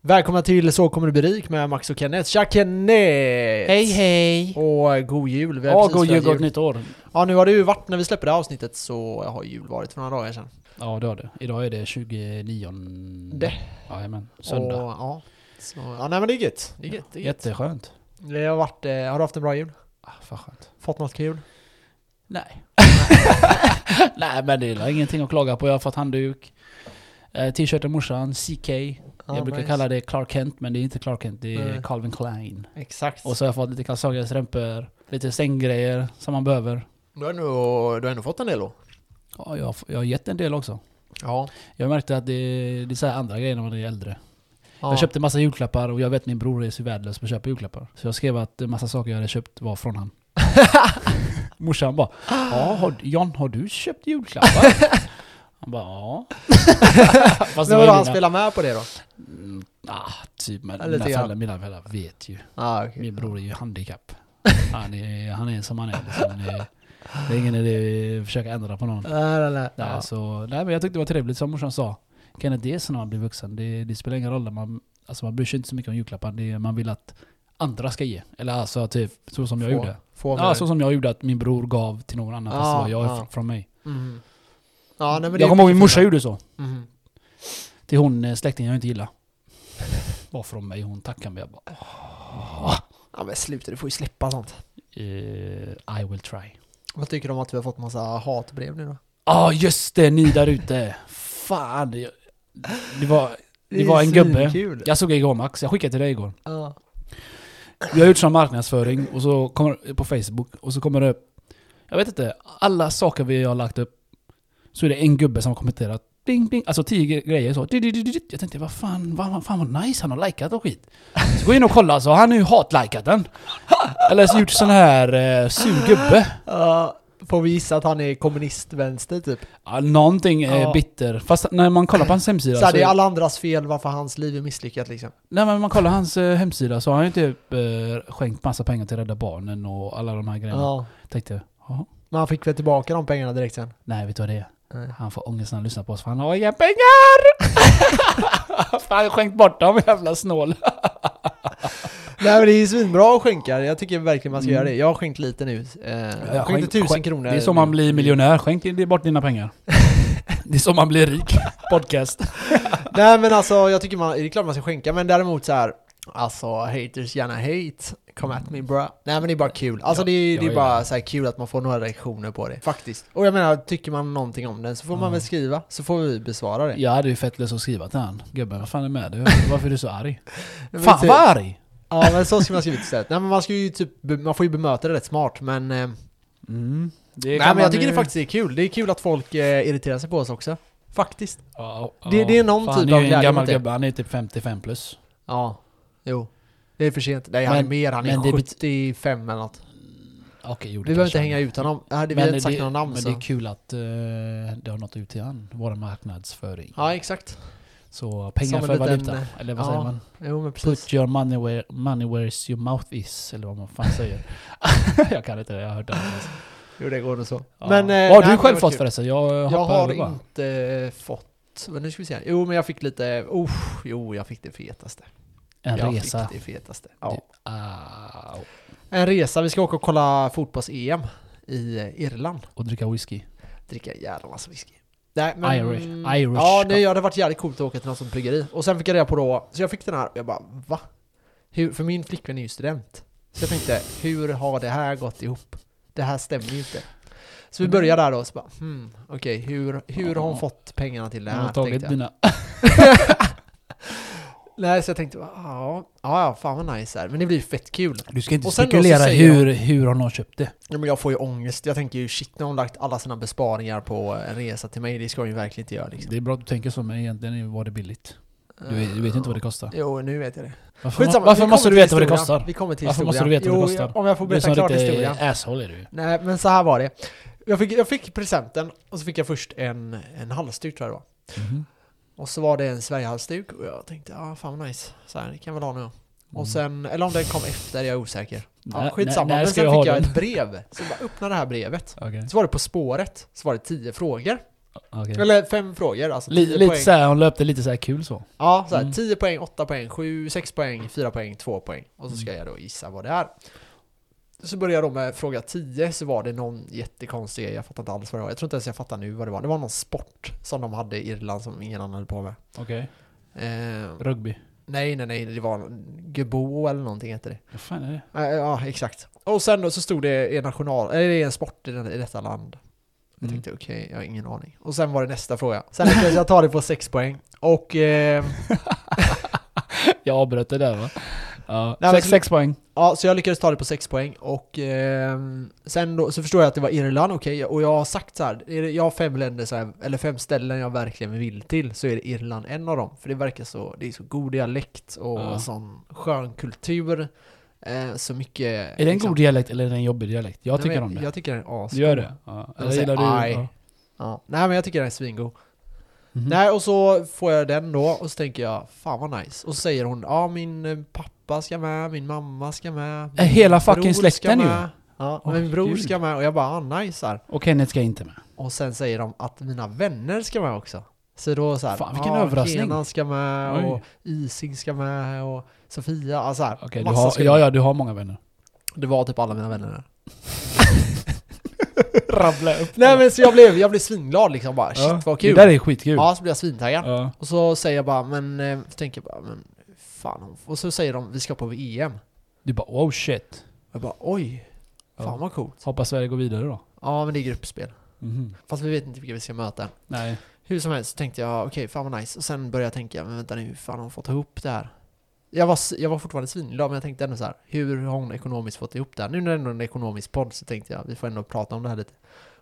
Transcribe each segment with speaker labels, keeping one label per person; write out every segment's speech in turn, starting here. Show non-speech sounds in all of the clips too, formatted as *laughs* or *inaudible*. Speaker 1: Välkomna till Så kommer du bli rik med Max och Kenneth. Tja Kenneth!
Speaker 2: Hej hej!
Speaker 1: Och eh, god jul! Vi har
Speaker 2: Ja,
Speaker 1: precis
Speaker 2: god
Speaker 1: firat
Speaker 2: jul, gott nytt år.
Speaker 1: Ja, nu har det ju varit, när vi släpper det här avsnittet så har jul varit för några dagar sedan.
Speaker 2: Ja, det har det. Idag är det 29...
Speaker 1: Det.
Speaker 2: Jajamän, söndag.
Speaker 1: Och, ja. Så, ja, nej men det är gött. Det är gött. Det är gött.
Speaker 2: Jätteskönt.
Speaker 1: Det har varit, eh, har du haft en bra jul?
Speaker 2: Ah, fan skönt.
Speaker 1: Fått något kul?
Speaker 2: Nej. *laughs* Nej, men det är ingenting att klaga på. Jag har fått handduk, eh, t-shirt av morsan, CK. jag brukar kalla det Clark Kent, men det är inte Clark Kent, det är
Speaker 1: Nej.
Speaker 2: Calvin Klein.
Speaker 1: Exakt.
Speaker 2: Och så har jag fått lite kalsonger, strumpor, lite sänggrejer som man behöver.
Speaker 1: Du har ändå, du har ändå fått en del då?
Speaker 2: Ja, jag, har f- jag har gett en del också.
Speaker 1: Ja.
Speaker 2: Jag märkte att det, det är så här andra grejer när man är äldre.
Speaker 1: ja.
Speaker 2: Jag köpte massa julklappar och jag vet min bror är så värdelös på att köpa julklappar. Så jag skrev att en massa saker jag hade köpt var
Speaker 1: *laughs*
Speaker 2: från han. Morsan bara ja, har, Jan har du
Speaker 1: *laughs*
Speaker 2: köpt julklappar? Han bara ja. Fast
Speaker 1: Men
Speaker 2: det var
Speaker 1: vadå,
Speaker 2: ju
Speaker 1: han
Speaker 2: mina,
Speaker 1: spelar med på det då?
Speaker 2: Mm, ah, typ, men
Speaker 1: Ja, lite
Speaker 2: mina
Speaker 1: grann.
Speaker 2: föräldrar, mina föräldrar vet ju.
Speaker 1: Ah, okej.
Speaker 2: Min bror är ju handikapp. Han är, han är som han är. Liksom. Det, det är ingen idé att försöka ändra på någon.
Speaker 1: Nej, nej, nej.
Speaker 2: Ja. Så, nej, men jag tyckte det var trevligt som morsan sa. Kenneth, det är så när man blir vuxen. Det, det spelar ingen roll. när Man, alltså man bryr sig inte så mycket om julklappar. Det, är- man vill att andra ska ge. Eller alltså typ så som jag
Speaker 1: Få-
Speaker 2: gjorde.
Speaker 1: Få
Speaker 2: Ja,
Speaker 1: mer.
Speaker 2: så som jag gjorde att min bror gav till någon annan. fast det
Speaker 1: Ja,
Speaker 2: var jag
Speaker 1: ja.
Speaker 2: fr- från mig.
Speaker 1: Mhm. Ja, nej, men det
Speaker 2: jag
Speaker 1: är
Speaker 2: kommer ihåg
Speaker 1: mycket
Speaker 2: min morsa
Speaker 1: finare.
Speaker 2: gjorde så.
Speaker 1: Mhm.
Speaker 2: Till hon eh, släktingen jag inte gillar. *laughs* Var från mig. Hon tackade mig. Jag bara,
Speaker 1: Ja men sluta, du får ju släppa sånt.
Speaker 2: eh, I will try.
Speaker 1: Vad tycker du om att vi har fått massa hatbrev nu då?
Speaker 2: Ja, just det. Ni där ute. Fan. Det, det var... Det var en gubbe.
Speaker 1: Kul. Ja.
Speaker 2: Jag såg igår Max. Jag skickade till dig igår.
Speaker 1: Ja.
Speaker 2: Vi har gjort sån marknadsföring och så kommer, på Facebook och så kommer det upp, jag vet inte, alla saker vi har lagt upp så är det en gubbe som har kommenterat ding, ding, alltså tio gre- grejer så. Di, di, di, di. Jag tänkte vad fan, vad, fan vad nice han har likat och skit. Så gå in och kolla så har han har ju hat-likat den. Eller så gjort sån här eh, sur gubbe.
Speaker 1: får vi gissa att han är kommunistvänster typ?
Speaker 2: Ja, någonting är
Speaker 1: Ja.
Speaker 2: bitter. Fast när man kollar på hans hemsida
Speaker 1: så här,
Speaker 2: så...
Speaker 1: det är alla andras fel varför hans liv är misslyckat liksom.
Speaker 2: Nej men man kollar hans eh, hemsida så har han ju typ eh, skänkt massa pengar till Rädda Barnen och alla de här grejerna.
Speaker 1: Ja.
Speaker 2: Tänkte, jaha.
Speaker 1: Men han fick väl tillbaka de pengarna direkt sen?
Speaker 2: Nej, vet du vad det är?
Speaker 1: Nej.
Speaker 2: Han får ångest när han lyssnar på oss för han har
Speaker 1: *laughs*
Speaker 2: inga pengar! för han har skänkt bort dem, jävla snål.
Speaker 1: Nej men det är ju svinbra att skänka, jag tycker verkligen man ska
Speaker 2: Mm.
Speaker 1: göra det. Jag har skänkt lite nu. Eh, jag skänkte
Speaker 2: skänk-
Speaker 1: tusen
Speaker 2: skänk-
Speaker 1: kronor.
Speaker 2: Det är så man blir miljonär, skänk di- bort dina
Speaker 1: *laughs*
Speaker 2: pengar. det är så man blir rik. Podcast.
Speaker 1: Nej men alltså jag tycker man, det är klart man ska skänka men däremot så här Alltså haters gärna hate, come at me bra. Nej men det är bara kul. Alltså
Speaker 2: Ja,
Speaker 1: det, är, det
Speaker 2: jag
Speaker 1: är bara
Speaker 2: gillar det.
Speaker 1: så här kul att man får några reaktioner på det. Faktiskt. Och jag menar, tycker man någonting om den så får man
Speaker 2: Ja.
Speaker 1: väl skriva, så får vi besvara det.
Speaker 2: Jag hade ju fett lust att skriva till han. Gubben, vad fan är med dig? Varför är du så arg?
Speaker 1: *laughs* Men
Speaker 2: fan
Speaker 1: typ-
Speaker 2: vad arg!
Speaker 1: Ja men så ska man skriva istället. Nej men man ska ju typ, be- man får ju bemöta det rätt smart men... Eh,
Speaker 2: Mm. Det
Speaker 1: nej
Speaker 2: kan
Speaker 1: men
Speaker 2: man
Speaker 1: jag tycker
Speaker 2: ju-
Speaker 1: det faktiskt är kul. Det är kul att folk eh, irriterar sig på oss också. Faktiskt.
Speaker 2: Ja, ja.
Speaker 1: det- det är någon
Speaker 2: Fan,
Speaker 1: typ
Speaker 2: han är
Speaker 1: av
Speaker 2: ju en
Speaker 1: glädje
Speaker 2: gammal
Speaker 1: mot det.
Speaker 2: gubbe, han är typ 55 plus.
Speaker 1: Ja. Jo. Det är för sent. Nej han är
Speaker 2: Men-
Speaker 1: mer, han
Speaker 2: men det
Speaker 1: är
Speaker 2: bet-
Speaker 1: 75 eller något.
Speaker 2: Okej, jo, det
Speaker 1: Vi behöver inte
Speaker 2: kanske han
Speaker 1: hänga
Speaker 2: är.
Speaker 1: ut honom. Äh, det- Vi har inte sagt
Speaker 2: det-
Speaker 1: några namn
Speaker 2: men
Speaker 1: så.
Speaker 2: det är kul att eh, det har nått ut till han, vår marknadsföring.
Speaker 1: Ja, exakt.
Speaker 2: Så pengar
Speaker 1: Som en
Speaker 2: för
Speaker 1: liten,
Speaker 2: valuta, eller vad
Speaker 1: ja,
Speaker 2: säger man?
Speaker 1: Jo, men precis.
Speaker 2: Put your money where, money where's your mouth is, eller vad man fan säger. *laughs* jag kan inte, jag har hört det. annars.
Speaker 1: Jo, det går nog så.
Speaker 2: Ja.
Speaker 1: Men... eh,
Speaker 2: Vad har
Speaker 1: nej, det
Speaker 2: du själv
Speaker 1: var
Speaker 2: fått
Speaker 1: kul.
Speaker 2: förresten? Jag,
Speaker 1: Jag
Speaker 2: hoppar
Speaker 1: har
Speaker 2: över bara.
Speaker 1: inte fått... Men nu ska vi se. här. Jo, men jag fick lite... Oh, jo, jag fick det fetaste.
Speaker 2: En
Speaker 1: jag
Speaker 2: resa.
Speaker 1: fick det fetaste. Ja.
Speaker 2: Au.
Speaker 1: En resa. Vi ska åka och kolla fotbolls-EM i eh, Irland.
Speaker 2: och dricka whisky.
Speaker 1: Dricka en jävla massa whisky. Nej, Mm.
Speaker 2: Irish- Irish
Speaker 1: Ja,
Speaker 2: Cup.
Speaker 1: det hade varit jävligt coolt att åka till något sånt bryggeri. Och sen fick jag reda på då... Så jag fick den här och jag bara, va? Hur, för min flickvän är ju student. Så jag tänkte, hur har det här gått ihop? Det här stämmer ju inte. Så vi börjar där då, så bara, hmm, okej, hur, hur har hon
Speaker 2: Mm. Ja.
Speaker 1: fått pengarna till det
Speaker 2: Jag
Speaker 1: här?
Speaker 2: har tagit
Speaker 1: tänkte jag.
Speaker 2: dina...
Speaker 1: Nej, så jag tänkte, ja, ja, ja, fan vad nice här. Men det blir ju fett kul.
Speaker 2: *laughs* Du ska inte
Speaker 1: Och sen då så
Speaker 2: spekulera
Speaker 1: säger
Speaker 2: hur, hur har någon köpt det.
Speaker 1: Ja, men jag får ju ångest. Jag tänker ju, shit, nu har hon lagt alla sina besparingar på en resa till mig. Det ska hon ju verkligen inte göra liksom.
Speaker 2: Det är bra att du tänker så, men egentligen var det billigt. Du, vet- du vet inte vad det kostar.
Speaker 1: Jo, nu vet jag det.
Speaker 2: Varför,
Speaker 1: Skitsamma, vi
Speaker 2: varför
Speaker 1: kommer
Speaker 2: måste du
Speaker 1: till
Speaker 2: veta vad det
Speaker 1: historien.
Speaker 2: kostar?
Speaker 1: Vi kommer till
Speaker 2: Varför måste du
Speaker 1: historien.
Speaker 2: veta vad det
Speaker 1: Jo,
Speaker 2: kostar?
Speaker 1: jag- om jag får
Speaker 2: Du är
Speaker 1: berätta
Speaker 2: som
Speaker 1: klart
Speaker 2: riktigt
Speaker 1: historien.
Speaker 2: asshole är du
Speaker 1: Nej, men så här var det. Jag fick, jag fick presenten och så fick jag först en, en halsduk tror jag det var. Och så var det en Sverigehalsduk och jag tänkte, ja ah, fan vad nice. Så här, det kan jag väl ha nu. Och sen, eller om den kom efter, jag är osäker. Ja,
Speaker 2: Mm. När-
Speaker 1: skitsamma.
Speaker 2: Mm. när- när
Speaker 1: Men
Speaker 2: ska
Speaker 1: sen
Speaker 2: jag
Speaker 1: fick
Speaker 2: ha
Speaker 1: jag
Speaker 2: den?
Speaker 1: ett brev. Så jag bara öppna det här brevet.
Speaker 2: Okej.
Speaker 1: Så var det På spåret, så var det tio frågor.
Speaker 2: Okej.
Speaker 1: Eller fem frågor, alltså
Speaker 2: Li-
Speaker 1: 10
Speaker 2: lite
Speaker 1: poäng.
Speaker 2: såhär, hon löpte lite såhär kul så.
Speaker 1: Ja, så här,
Speaker 2: Mm.
Speaker 1: 10 poäng, 8 poäng, 7, 6 poäng, 4 poäng, 2 poäng. Och så ska
Speaker 2: Mm.
Speaker 1: jag då gissa vad det är. Så började jag då med fråga 10, så var det någon jättekonstig grej, jag fattar inte alls vad det var. Jag tror inte ens jag fattar nu vad det var. Det var någon sport som de hade i Irland som ingen annan höll på med.
Speaker 2: Okej.
Speaker 1: Eh,
Speaker 2: Rugby.
Speaker 1: nej, nej, nej, det var Gebo eller någonting heter det.
Speaker 2: Vad fan är det?
Speaker 1: Eh, ja, exakt. Och sen då så stod det en, national, eller det är en sport i, den, i detta land. Jag
Speaker 2: Mm.
Speaker 1: tänkte okej, jag har ingen aning. Och sen var det nästa fråga. Sen lyckades jag ta det på 6 poäng. Och... Eh,
Speaker 2: *laughs* Jag avbröt det där va? Ja.
Speaker 1: Nej, men
Speaker 2: sex,
Speaker 1: så-
Speaker 2: sex poäng.
Speaker 1: Ja, så jag lyckades ta det på 6 poäng och ehm, sen då, så förstår jag att det var Irland, okej, och jag har sagt så här, är det, jag har fem länder, så här, eller fem ställen jag verkligen vill till, så är det Irland en av dem. För det verkar så, det är så god dialekt och
Speaker 2: Ja.
Speaker 1: sån skön kultur, eh, så mycket... liksom.
Speaker 2: Är det en god dialekt eller är det en jobbig dialekt? Jag tycker om det.
Speaker 1: Jag tycker den är as.
Speaker 2: Du gör det? Ja.
Speaker 1: Jag
Speaker 2: Eller
Speaker 1: säger
Speaker 2: gillar du...
Speaker 1: aj.
Speaker 2: Ja.
Speaker 1: Ja. Nej men jag tycker den är svingod.
Speaker 2: Mhm.
Speaker 1: Nej och så får jag den då och så tänker jag, fan vad nice. Och så säger hon, ja min eh, pappa ska med, min mamma ska med.
Speaker 2: Äh,
Speaker 1: min
Speaker 2: Hela fucking
Speaker 1: bror ska
Speaker 2: släkten ju.
Speaker 1: med. Ja,
Speaker 2: Åh,
Speaker 1: men min bror
Speaker 2: gud.
Speaker 1: ska med och jag bara ah, nice här.
Speaker 2: Och Kenneth ska inte med.
Speaker 1: Och sen säger de att mina vänner ska med också. Så då så här,
Speaker 2: Fan, vilken
Speaker 1: ah,
Speaker 2: överraskning.
Speaker 1: Kenan ska med
Speaker 2: Oj.
Speaker 1: och Ising ska med och Sofia, alltså här,
Speaker 2: Okej, du
Speaker 1: massa
Speaker 2: har,
Speaker 1: ska
Speaker 2: ja,
Speaker 1: med.
Speaker 2: ja, du har många vänner.
Speaker 1: Det var typ alla mina vänner där.
Speaker 2: Rabbla upp.
Speaker 1: Nej men så jag blev, jag blev svinglad liksom bara, shit vad kul.
Speaker 2: Det där är skitkul.
Speaker 1: Ja, så blev jag svintaggad.
Speaker 2: Ja.
Speaker 1: Och så säger jag bara, men, eh, så tänker jag bara, men fan. hon- Och så säger de, vi ska på EM.
Speaker 2: Du bara wow shit.
Speaker 1: Jag bara, oj, fan
Speaker 2: Ja.
Speaker 1: vad coolt.
Speaker 2: Hoppas Sverige går vidare då.
Speaker 1: Ja men det är gruppspel.
Speaker 2: Mhm.
Speaker 1: Fast vi vet inte vilka vi ska möta än.
Speaker 2: Nej.
Speaker 1: Hur som helst tänkte jag, okej, fan vad nice. Och sen började jag tänka, men vänta nu, hur fan har hon fått ihop det här? Jag var, s- jag var fortfarande svinglad, men jag tänkte ändå så här, hur har hon ekonomiskt fått ihop det här? Nu när det ändå är en ekonomisk podd så tänkte jag, vi får ändå prata om det här lite.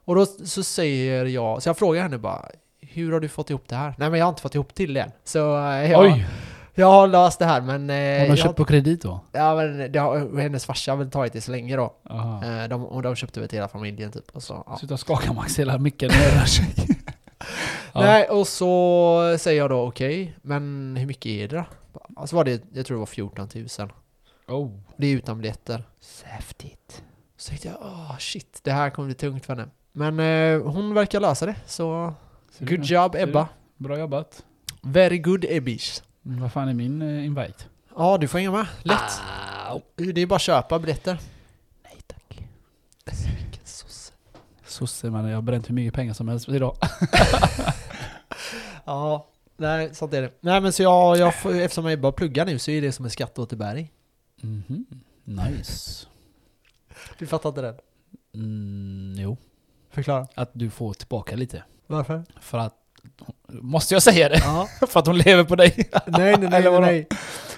Speaker 1: Och då s- så säger jag, så jag frågar henne bara, hur har du fått ihop det här? Nej men jag har inte fått ihop till det än. Så eh, jag,
Speaker 2: Oj!
Speaker 1: jag har löst det här men... eh,
Speaker 2: Hon har
Speaker 1: jag
Speaker 2: köpt på kredit då?
Speaker 1: Ja men det har, hennes farsa har väl tagit det så länge då.
Speaker 2: Aha.
Speaker 1: Eh, De, och de köpte väl till hela familjen typ. Och så, ja.
Speaker 2: Sluta skaka Max hela micken när jag rör sig. Ja.
Speaker 1: *laughs* Nej, och så säger jag då okej, men hur mycket är det då? Alltså var det, jag tror det var 14 000.
Speaker 2: Oh.
Speaker 1: Det är utan biljetter.
Speaker 2: Häftigt.
Speaker 1: Så tänkte jag, åh shit, det här kommer bli tungt för henne. Men eh, hon verkar lösa det, så good job
Speaker 2: Ser du?
Speaker 1: Ebba.
Speaker 2: Bra jobbat.
Speaker 1: Very good Ebbish.
Speaker 2: Mm, vad fan är min eh, invite?
Speaker 1: Ja, du får hänga med. Lätt.
Speaker 2: Au.
Speaker 1: Det är bara att köpa biljetter.
Speaker 2: Nej tack.
Speaker 1: Vilken sosse.
Speaker 2: Sosse man, jag har bränt hur mycket pengar som helst idag.
Speaker 1: Ja, nej, sånt är det. Nej men så jag, jag får, eftersom jag bara pluggar nu så är det som en skatteåterbäring.
Speaker 2: Mhm. Nice.
Speaker 1: Du fattar inte den?
Speaker 2: Mm, jo.
Speaker 1: Förklara.
Speaker 2: Att du får tillbaka lite.
Speaker 1: Varför?
Speaker 2: För att... Måste jag säga det? *laughs*
Speaker 1: Ja.
Speaker 2: för att hon lever på dig?
Speaker 1: *laughs* Nej, nej, nej,
Speaker 2: Eller
Speaker 1: nej,
Speaker 2: vadå?
Speaker 1: nej.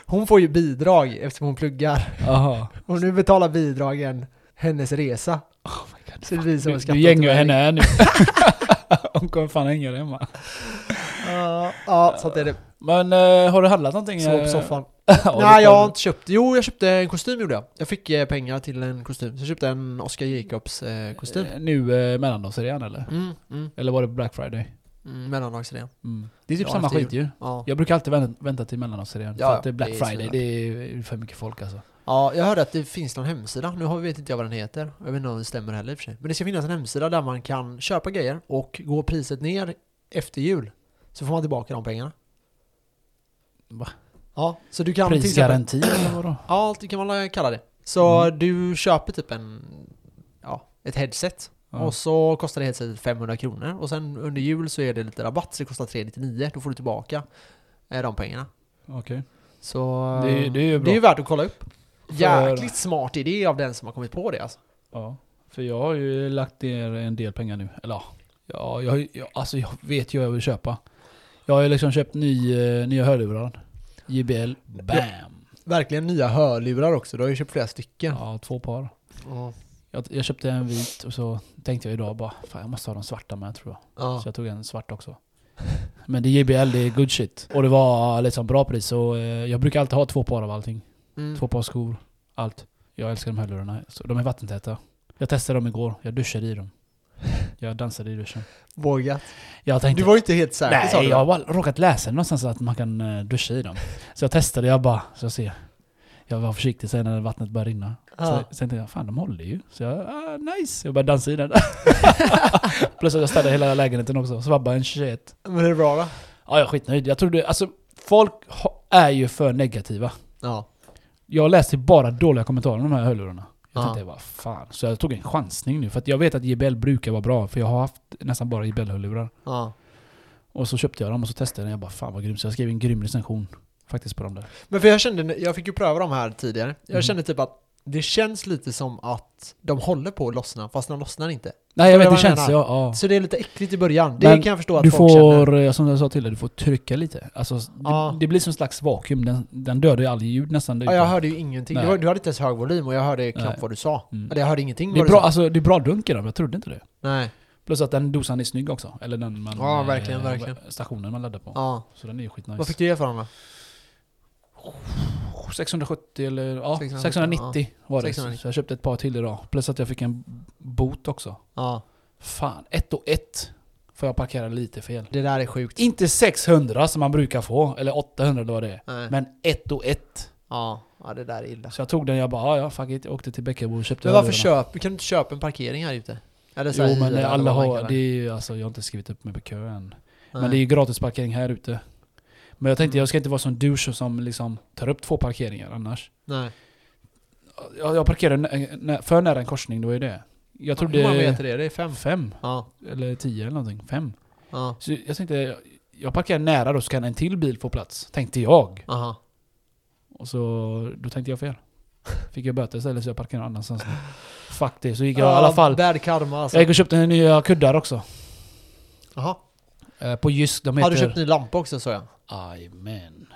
Speaker 1: Hon får ju bidrag eftersom hon pluggar.
Speaker 2: Jaha.
Speaker 1: Och nu betalar bidragen hennes resa.
Speaker 2: Oh my god.
Speaker 1: Så det blir som
Speaker 2: Du,
Speaker 1: en
Speaker 2: du gängar
Speaker 1: skatteåterbäring.
Speaker 2: henne här
Speaker 1: *laughs*
Speaker 2: nu. hon kommer fan hänga dig hemma.
Speaker 1: Ja, ja sånt är det.
Speaker 2: Men eh, har du handlat någonting?
Speaker 1: Sov
Speaker 2: eh,
Speaker 1: på soffan.
Speaker 2: *laughs* ja, det får
Speaker 1: Nej, jag har
Speaker 2: du.
Speaker 1: inte köpt. Jo, jag köpte en kostym gjorde jag. Jag fick eh, pengar till en kostym. Så jag köpte en Oscar Jacobs eh, kostym.
Speaker 2: Eh, Nu eh, mellandagsrean eller?
Speaker 1: Mm, mm,
Speaker 2: Eller var det Black Friday?
Speaker 1: mm. Mellandagsrean.
Speaker 2: Det är typ
Speaker 1: Ja,
Speaker 2: samma
Speaker 1: efter
Speaker 2: skit ju.
Speaker 1: Ja.
Speaker 2: Jag brukar alltid vän- vänta till mellandagsrean.
Speaker 1: Ja,
Speaker 2: för att det är Black
Speaker 1: det är
Speaker 2: Friday,
Speaker 1: svinbra.
Speaker 2: det är för mycket folk alltså.
Speaker 1: Ja, jag hörde att det finns någon hemsida. Nu har- vet inte jag vad den heter. Jag vet inte om det stämmer heller i och för sig. Men det ska finnas en hemsida där man kan köpa grejer och gå priset ner efter jul. Så får man tillbaka de pengarna.
Speaker 2: Va?
Speaker 1: Ja, så du kan till exempel...
Speaker 2: Prisgaranti eller vadå?
Speaker 1: Ja, det kan man kalla det. Så
Speaker 2: Mm.
Speaker 1: du köper typ en... Ja, ett headset.
Speaker 2: Ja.
Speaker 1: Och så kostar det headsetet 500 kronor. Och sen under jul så är det lite rabatt så det kostar 399. Då får du tillbaka eh, de pengarna.
Speaker 2: Okej.
Speaker 1: Så eh,
Speaker 2: Det är- det är ju bra.
Speaker 1: värt att kolla upp.
Speaker 2: För-
Speaker 1: Jäkligt smart idé av den som har kommit på det alltså.
Speaker 2: Ja. För jag har ju lagt ner en del pengar nu. Eller ja, ja jag, har ju- jag, alltså jag vet ju vad jag vill köpa. Jag har ju liksom köpt ny, eh, nya hörlurar. JBL, BAM!
Speaker 1: Verkligen nya hörlurar också, du har ju köpt flera stycken.
Speaker 2: Ja, två par.
Speaker 1: Ja.
Speaker 2: Jag, jag köpte en vit och så tänkte jag idag bara, fan jag måste ha de svarta med tror jag.
Speaker 1: Ja.
Speaker 2: Så jag tog en svart också. Men det är JBL, det är good shit. Och det var liksom bra pris. Så eh, jag brukar alltid ha två par av allting.
Speaker 1: Mm.
Speaker 2: Två par skor, allt. Jag älskar de här lurarna. Så de är vattentäta. Jag testade dem igår, jag duschade i dem. Jag dansade i duschen.
Speaker 1: Vågat.
Speaker 2: Jag tänkte,
Speaker 1: Du var ju inte helt säker sa
Speaker 2: nej
Speaker 1: du.
Speaker 2: jag har bara råkat läsa någonstans att man kan eh, duscha i dem. Så jag testade, jag bara, så jag ser. Jag var försiktig sen när vattnet började rinna.
Speaker 1: Ja.
Speaker 2: Så, sen tänkte jag, fan de håller ju. Så jag, ah, nice! Jag började
Speaker 1: *laughs*
Speaker 2: dansa i den. Plus att jag städade hela lägenheten också. Svabba en shit.
Speaker 1: Men det är bra då?
Speaker 2: Ja, jag är skitnöjd. Jag trodde, alltså folk ha- är ju för negativa.
Speaker 1: Ja.
Speaker 2: Jag läste bara dåliga kommentarer om de här hörlurarna. Jag
Speaker 1: Ja.
Speaker 2: tänkte, vad fan. Så jag tog en chansning nu. För att jag vet att JBL brukar vara bra. För jag har haft nästan bara JBL-hörlurar.
Speaker 1: ja.
Speaker 2: Och så köpte jag dem och så testade jag den. Jag bara, fan vad grym. Så jag skrev en grym recension. Faktiskt på dem där.
Speaker 1: Men för jag kände, jag fick ju pröva de här tidigare. Jag
Speaker 2: Mm.
Speaker 1: kände typ att det känns lite som att de håller på att lossna, fast de lossnar inte.
Speaker 2: Nej jag
Speaker 1: Förstår
Speaker 2: vet, det
Speaker 1: du vad jag
Speaker 2: känns. Ja, ja.
Speaker 1: Så det är lite äckligt i början. Det
Speaker 2: Men
Speaker 1: kan jag förstå att
Speaker 2: Du
Speaker 1: folk känner.
Speaker 2: får, eh, som jag sa till dig, du får trycka lite. Alltså,
Speaker 1: Ja.
Speaker 2: det, det blir som en slags vakuum. Den, den dödar ju all ljud nästan. där
Speaker 1: Ja, jag
Speaker 2: ute.
Speaker 1: hörde ju ingenting. Du,
Speaker 2: Nej.
Speaker 1: du hade inte ens hög volym och jag hörde knappt
Speaker 2: Nej.
Speaker 1: vad du sa.
Speaker 2: Mm.
Speaker 1: Eller jag hörde ingenting
Speaker 2: det, är
Speaker 1: vad
Speaker 2: bra,
Speaker 1: du sa.
Speaker 2: alltså, det är bra dunk i den, men jag trodde inte det.
Speaker 1: Nej.
Speaker 2: Plus att den dosan är snygg också. Eller den man,
Speaker 1: Ja, verkligen,
Speaker 2: eh,
Speaker 1: verkligen.
Speaker 2: stationen man laddar på.
Speaker 1: Ja.
Speaker 2: Så den är ju skitnice.
Speaker 1: Vad fick du ge för den då?
Speaker 2: 670 eller ja,
Speaker 1: 670,
Speaker 2: 690 var det.
Speaker 1: 690.
Speaker 2: Så jag köpte ett par till idag. Plus att jag fick en bot också.
Speaker 1: Ja.
Speaker 2: Fan, ett och ett får jag parkera lite fel.
Speaker 1: Det där är sjukt.
Speaker 2: Inte 600 som man brukar få, eller 800 eller vad det är.
Speaker 1: Nej.
Speaker 2: Men ett och ett.
Speaker 1: Ja. ja, det där är illa.
Speaker 2: Så jag tog den, jag bara ja, ja fuck it. Jag åkte till Bäckebo och köpte
Speaker 1: Men varför
Speaker 2: hörlurarna.
Speaker 1: köp, kan du inte köpa en parkering här ute? Eller så här
Speaker 2: Jo men
Speaker 1: hyra,
Speaker 2: eh,
Speaker 1: eller
Speaker 2: alla
Speaker 1: vad man
Speaker 2: har,
Speaker 1: kallar
Speaker 2: det är ju, alltså jag har inte skrivit upp mig på kö än. Men
Speaker 1: Nej.
Speaker 2: det är ju gratisparkering här ute. Men jag tänkte
Speaker 1: Mm.
Speaker 2: jag ska inte vara sån douche som liksom tar upp två parkeringar annars.
Speaker 1: Nej.
Speaker 2: Jag, jag parkerar nä, nä, för nära en korsning, då är det. Jag
Speaker 1: Hur många
Speaker 2: trodde
Speaker 1: meter är det? Det är fem.
Speaker 2: fem,
Speaker 1: Ja.
Speaker 2: eller tio eller någonting. Fem.
Speaker 1: Ja.
Speaker 2: Så jag tänkte, jag, jag parkerar nära då så kan en till bil få plats. Tänkte jag.
Speaker 1: Aha.
Speaker 2: Och så, då tänkte jag fel. Fick jag böter istället så jag parkerade någon annanstans. nu. Fuck det, så gick jag i alla fall.
Speaker 1: Bad karma alltså.
Speaker 2: Jag gick och köpte nya kuddar också.
Speaker 1: Jaha.
Speaker 2: Eh, På Jysk, de heter...
Speaker 1: Har du köpt ny lampa också sa jag?
Speaker 2: Jajamän.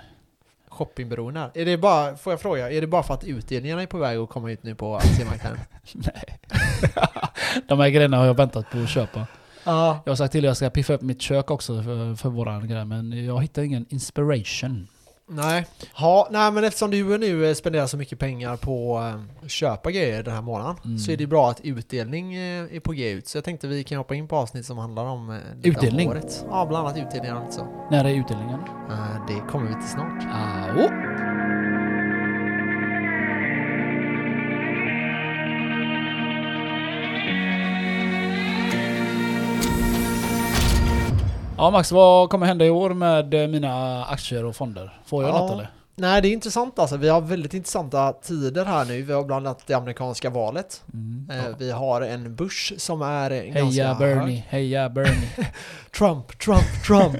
Speaker 1: Shoppingberoende här. Är det bara, får jag fråga, är det bara för att utdelningarna är på väg att komma ut nu på aktiemarknaden?
Speaker 2: De här grejerna har jag väntat på att köpa.
Speaker 1: *laughs* Ja.
Speaker 2: Jag har sagt till er att jag ska piffa upp mitt kök också för, för våran grej, men jag hittar ingen inspiration.
Speaker 1: Nej. Ja, nej men eftersom du nu eh, spenderar så mycket pengar på eh, att köpa grejer den här månaden
Speaker 2: Mm.
Speaker 1: så är det bra att utdelning eh, är på G ut. Så jag tänkte vi kan hoppa in på avsnitt som handlar om eh, detta
Speaker 2: Utdelning?
Speaker 1: året. Ja, bland annat utdelningar alltså. och lite så.
Speaker 2: När är utdelningen?
Speaker 1: Eh, Det kommer vi till snart.
Speaker 2: Au! Ja Max, vad kommer hända i år med eh, mina aktier och fonder? Får jag
Speaker 1: Ja.
Speaker 2: något eller?
Speaker 1: Nej, det är intressant alltså. Vi har väldigt intressanta tider här nu. Vi har bland annat det amerikanska valet.
Speaker 2: Mm.
Speaker 1: Eh, Vi har en börs som är eh, ganska
Speaker 2: Heja Bernie,
Speaker 1: hög.
Speaker 2: heja Bernie.
Speaker 1: Trump, Trump,
Speaker 2: *laughs*
Speaker 1: Trump.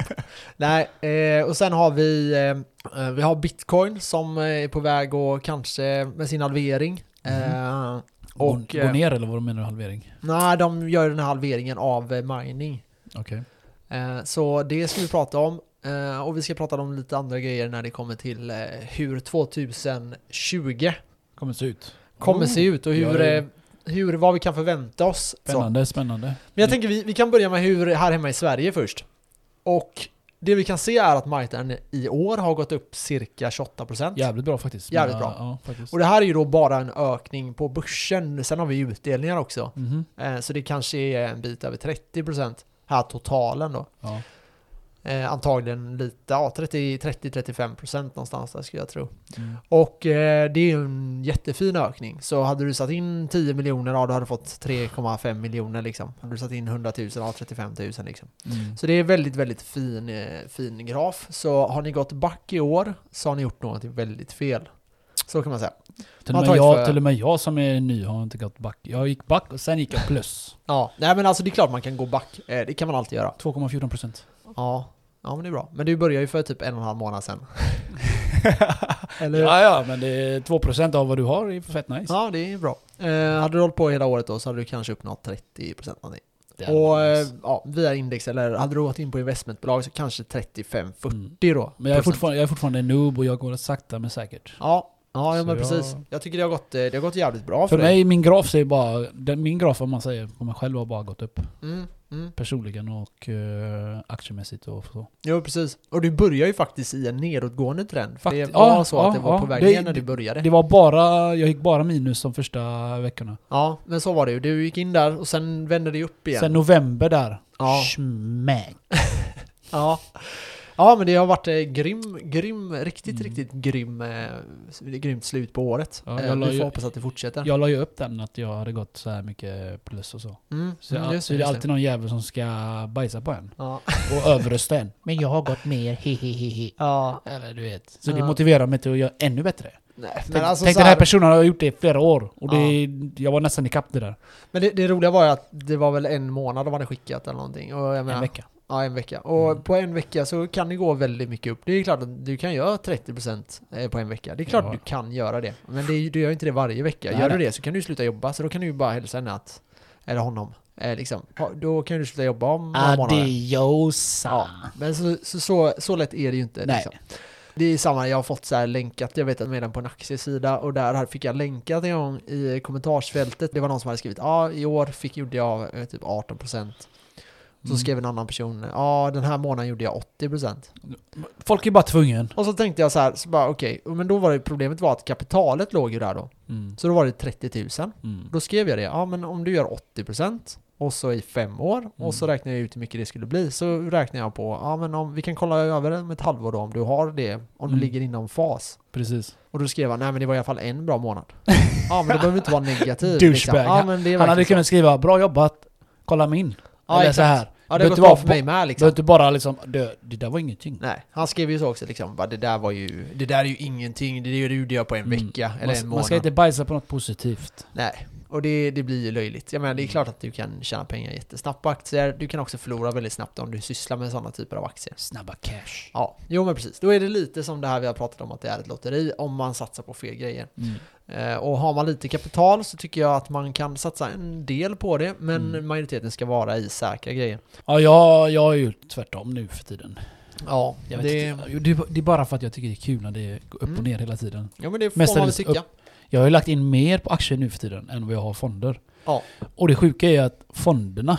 Speaker 1: Nej, eh, och sen har vi, eh, eh, vi har bitcoin som eh, är på väg att kanske med sin halvering.
Speaker 2: Mhm.
Speaker 1: Eh,
Speaker 2: och,
Speaker 1: *laughs* och,
Speaker 2: gå,
Speaker 1: eh,
Speaker 2: ner eller vad menar du halvering?
Speaker 1: nej, de gör den här halveringen av eh, mining.
Speaker 2: Okej.
Speaker 1: Eh, så det ska vi prata om. Eh, och vi ska prata om lite andra grejer när det kommer till eh, hur 2020
Speaker 2: Kommer se ut.
Speaker 1: kommer
Speaker 2: Oh,
Speaker 1: se ut och hur,
Speaker 2: ja, ja.
Speaker 1: eh, hur, vad vi kan förvänta oss. Så.
Speaker 2: Spännande, spännande.
Speaker 1: Men jag tänker vi, vi kan börja med hur här hemma i Sverige först. Och det vi kan se är att marknaden i år har gått upp cirka 28%.
Speaker 2: Jävligt bra faktiskt.
Speaker 1: Jävligt
Speaker 2: Men,
Speaker 1: bra.
Speaker 2: Ja, faktiskt.
Speaker 1: Och det här är ju då bara en ökning på börsen. Sen har vi utdelningar också.
Speaker 2: Mhm.
Speaker 1: Eh, Så det kanske är en bit över 30% här totalen då.
Speaker 2: ja.
Speaker 1: Eh, Antagligen lite, ja 30, 30-35% någonstans där skulle jag tro.
Speaker 2: Mm.
Speaker 1: Och eh, det är ju en jättefin ökning. Så hade du satt in 10 miljoner, ja då hade du fått 3,5 miljoner liksom. Hade du satt in 100 000, ja 35 000 liksom.
Speaker 2: Mm.
Speaker 1: Så det är väldigt, väldigt fin, eh, fin graf. Så har ni gått back i år så har ni gjort någonting väldigt fel. Så kan man säga.
Speaker 2: Till,
Speaker 1: Man
Speaker 2: och med
Speaker 1: tar ett
Speaker 2: jag,
Speaker 1: för-
Speaker 2: till och med jag som är ny har inte gått back. Jag gick back och sen gick jag
Speaker 1: *laughs*
Speaker 2: plus.
Speaker 1: Ja, nej men alltså det är klart man kan gå back. Eh, Det kan man alltid göra.
Speaker 2: 2,14 *laughs* procent.
Speaker 1: Ja, ja men det är bra. Men du började ju för typ en och en halv månad sedan. Eller hur?
Speaker 2: Ja, ja, men det är 2 procent av vad du har är fett nice.
Speaker 1: Ja, det är bra. Eh, hade du hållit på hela året då så hade du kanske uppnått 30% någonting.
Speaker 2: Det är
Speaker 1: Och eh,
Speaker 2: nice.
Speaker 1: ja, via index eller hade du gått in på investmentbolag så kanske 35-40
Speaker 2: Mm.
Speaker 1: då.
Speaker 2: Men jag är,
Speaker 1: procent.
Speaker 2: fortfarande, jag är fortfarande en noob och jag går sakta men säkert.
Speaker 1: Ja, ja, ja men
Speaker 2: Så jag-
Speaker 1: precis. Jag tycker det har gått, eh, det har gått jävligt bra för,
Speaker 2: För
Speaker 1: dig.
Speaker 2: mig, min graf säger bara... Den, min graf, om man säger, på mig själv har bara gått upp.
Speaker 1: Mm, mm.
Speaker 2: Personligen och eh, aktiemässigt och så.
Speaker 1: Jo, precis. Och du börjar ju faktiskt i en nedåtgående trend. För det
Speaker 2: Fakti-
Speaker 1: var
Speaker 2: ja,
Speaker 1: så att
Speaker 2: ja,
Speaker 1: det var
Speaker 2: ja.
Speaker 1: på väg
Speaker 2: Det-
Speaker 1: ner när du började.
Speaker 2: Det var bara... Jag gick bara minus de första veckorna.
Speaker 1: Ja, men så var det ju. Du gick in där och sen vände det upp igen.
Speaker 2: Sen november där.
Speaker 1: Ja.
Speaker 2: Smack.
Speaker 1: Ja. Ja men det har varit eh, grym, grym, riktigt, riktigt grym, eh, grymt slut på året.
Speaker 2: Mm. Ja,
Speaker 1: Eh,
Speaker 2: jag la
Speaker 1: vi
Speaker 2: ju-
Speaker 1: får hoppas att det fortsätter.
Speaker 2: Jag la ju upp den att jag hade gått så här mycket plus och så.
Speaker 1: Mm,
Speaker 2: Så,
Speaker 1: mm,
Speaker 2: jag,
Speaker 1: just
Speaker 2: så det är
Speaker 1: just
Speaker 2: alltid någon jävel som ska bajsa på en.
Speaker 1: Ja.
Speaker 2: Och överrösta en. *laughs* Men jag har gått mer, hehehehe.
Speaker 1: ja.
Speaker 2: Eller du vet. Så det
Speaker 1: Ja.
Speaker 2: motiverar mig till att göra ännu bättre.
Speaker 1: Nej, men
Speaker 2: Tänk,
Speaker 1: alltså
Speaker 2: tänk
Speaker 1: så
Speaker 2: den
Speaker 1: här,
Speaker 2: här personen har gjort det i flera år. Och det, jag var nästan ikapp det där.
Speaker 1: Men det, det roliga var ju att det var väl en månad de hade skickat eller någonting. Och jag menar,
Speaker 2: En vecka.
Speaker 1: Ja, en vecka. Och
Speaker 2: Mm.
Speaker 1: på en vecka så kan det gå väldigt mycket upp. Det är klart att du kan göra 30% eh, på en vecka. Det är klart
Speaker 2: Ja.
Speaker 1: du kan göra det. Men det, är ju- du gör ju inte det varje vecka.
Speaker 2: Nej,
Speaker 1: gör du
Speaker 2: nej.
Speaker 1: det så kan du ju sluta jobba. Så då kan du ju bara hälsa henne att, eller honom, eh, liksom. Ha- Då kan du sluta jobba om några månader.
Speaker 2: Adiosa.
Speaker 1: Ja, men så, så, så, så lätt är det ju inte.
Speaker 2: Nej.
Speaker 1: Liksom. Det är samma, jag har fått så här länkat, jag vet att med den på en aktiesida och där här fick jag länkat en gång i kommentarsfältet. Det var någon som hade skrivit ja, i år fick, gjorde jag eh, typ 18%. Så
Speaker 2: Mm.
Speaker 1: skrev en annan person, ja den här månaden gjorde jag 80%.
Speaker 2: Folk är bara tvungen.
Speaker 1: Och så tänkte jag så här, så bara okej, men då var det problemet var att kapitalet låg ju där då.
Speaker 2: Mm.
Speaker 1: Så då var det 30 000.
Speaker 2: Mm.
Speaker 1: Då skrev jag det, ja men om du gör 80% och så i fem år och så
Speaker 2: Mm.
Speaker 1: räknar jag ut hur mycket det skulle bli. Så räknar jag på, ja men om, vi kan kolla över det med ett halvår då om du har det, om du
Speaker 2: Mm.
Speaker 1: ligger inom fas.
Speaker 2: Precis.
Speaker 1: Och då skrev han, nej men det var i alla fall en bra
Speaker 2: *laughs*
Speaker 1: månad. ja men det behöver inte vara negativ.
Speaker 2: Douchebag.
Speaker 1: Ja, men det är
Speaker 2: Han hade
Speaker 1: verkligen så.
Speaker 2: kunnat skriva 'Bra jobbat, kolla min'
Speaker 1: Ja,
Speaker 2: Eller
Speaker 1: exakt.
Speaker 2: så här.
Speaker 1: Ja det har
Speaker 2: behövt
Speaker 1: gått
Speaker 2: vara
Speaker 1: bra för
Speaker 2: på-
Speaker 1: mig med liksom.
Speaker 2: Behöver inte bara liksom, det, det där var ingenting.
Speaker 1: Nej, han skrev ju så också liksom, bara, det där var ju, det där är ju ingenting, det är ju det gjorde jag på en
Speaker 2: Mm.
Speaker 1: vecka eller
Speaker 2: man,
Speaker 1: en månad.
Speaker 2: man ska inte bajsa på något positivt.
Speaker 1: Nej, och det, det blir ju löjligt. Jag menar, det är klart att du kan tjäna pengar jättesnabbt på aktier, du kan också förlora väldigt snabbt om du sysslar med sådana typer av aktier.
Speaker 2: Snabba cash.
Speaker 1: Ja, jo men precis. Då är det lite som det här vi har pratat om att det är ett lotteri om man satsar på fel grejer.
Speaker 2: Mm.
Speaker 1: Eh, och har man lite kapital så tycker jag att man kan satsa en del på det, men
Speaker 2: Mm.
Speaker 1: majoriteten ska vara i säkra grejer.
Speaker 2: Ja, jag, jag är ju tvärtom nu för tiden.
Speaker 1: Ja,
Speaker 2: Jag vet
Speaker 1: det,
Speaker 2: inte. Jo, det, är- det är bara för att jag tycker det är kul när det går upp
Speaker 1: Mm.
Speaker 2: och ner hela tiden.
Speaker 1: ja, men det får
Speaker 2: Mestadels
Speaker 1: man väl tycka.
Speaker 2: upp. Jag har ju lagt in mer på aktier nu för tiden än vad jag har fonder.
Speaker 1: Ja.
Speaker 2: Och det sjuka är att fonderna,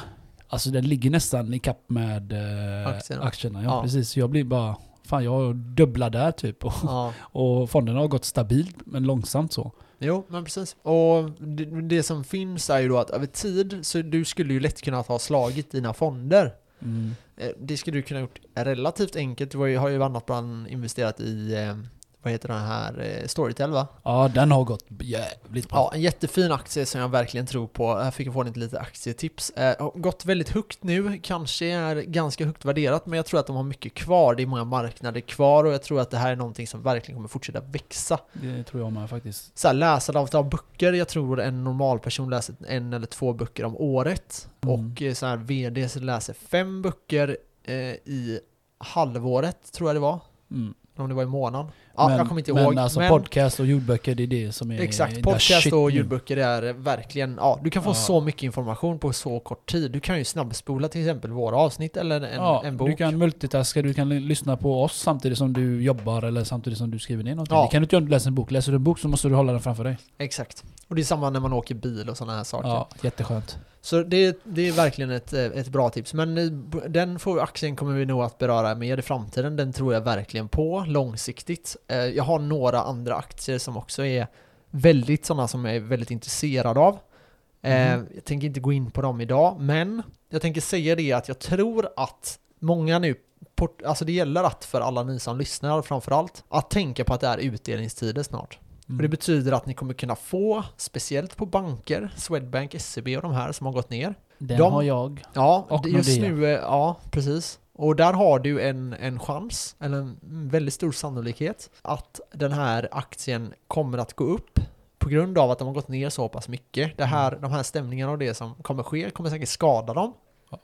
Speaker 2: alltså den ligger nästan i kapp med eh,
Speaker 1: Aktierna.
Speaker 2: aktierna. ja,
Speaker 1: Ja.
Speaker 2: precis. Så jag blir bara, fan jag dubblar där typ. Och,
Speaker 1: Ja.
Speaker 2: och fonderna har gått stabilt men långsamt så.
Speaker 1: Jo, men precis. Och det, det som finns är ju då att över tid, så du skulle ju lätt kunna ha slagit dina fonder.
Speaker 2: Mm.
Speaker 1: Eh, Det skulle du kunna gjort relativt enkelt. Du har ju, har ju annat bland investerat i, eh, vad heter den här, eh, Storytel va?
Speaker 2: Ja, den har gått jävligt bra.
Speaker 1: Ja, en jättefin aktie som jag verkligen tror på. Här fick jag få lite aktietips. Eh, har gått väldigt högt nu, kanske är ganska högt värderat, men jag tror att de har mycket kvar. Det är många marknader kvar och jag tror att det här är någonting som verkligen kommer fortsätta växa.
Speaker 2: Det tror jag med faktiskt.
Speaker 1: så här, läsandet av böcker. Jag tror en normal person läser en eller två böcker om året.
Speaker 2: Mm.
Speaker 1: Och eh, så här, vd läser fem böcker eh, i halvåret, tror jag det var.
Speaker 2: Mm.
Speaker 1: Om det var i månaden. Ja, jag kommer inte
Speaker 2: men
Speaker 1: ihåg.
Speaker 2: Alltså
Speaker 1: men
Speaker 2: podcast och ljudböcker, det är det som är... det
Speaker 1: exakt,
Speaker 2: där shit
Speaker 1: podcast och
Speaker 2: nu.
Speaker 1: ljudböcker är verkligen, ja, du kan få
Speaker 2: Ja.
Speaker 1: så mycket information på så kort tid. Du kan ju snabbspola till exempel våra avsnitt eller en,
Speaker 2: ja,
Speaker 1: en bok.
Speaker 2: Du kan multitaska, du kan l- lyssna på oss samtidigt som du jobbar eller samtidigt som du skriver ner någonting.
Speaker 1: Ja.
Speaker 2: Det kan du inte göra om du läser en bok. Läser du en bok så måste du hålla den framför dig.
Speaker 1: Exakt. Och det är samma när man åker bil och sådana här saker.
Speaker 2: Ja, jätteskönt.
Speaker 1: Så det, det är verkligen ett, eh, ett bra tips. Men eh, b- den får, aktien kommer vi nog att beröra mer i framtiden. Den tror jag verkligen på långsiktigt. Eh, Jag har några andra aktier som också är väldigt sådana som jag är väldigt intresserad av. Eh,
Speaker 2: Mhm.
Speaker 1: Jag tänker inte gå in på dem idag, men jag tänker säga det att jag tror att många nu port- Alltså det gäller att för alla ni som lyssnar framförallt, att tänka på att det är utdelningstider snart. Och det betyder att ni kommer kunna få, speciellt på banker, Swedbank, SEB och de här som har gått ner,
Speaker 2: Mm. Den
Speaker 1: de-
Speaker 2: har jag.
Speaker 1: Ja,
Speaker 2: Och
Speaker 1: det- just
Speaker 2: Nordea.
Speaker 1: nu, eh, ja precis. Och där har du en, en chans, eller en väldigt stor sannolikhet, att den här aktien kommer att gå upp på grund av att de har gått ner så pass mycket. Det här,
Speaker 2: Mm.
Speaker 1: De här stämningarna och det som kommer ske kommer säkert skada dem,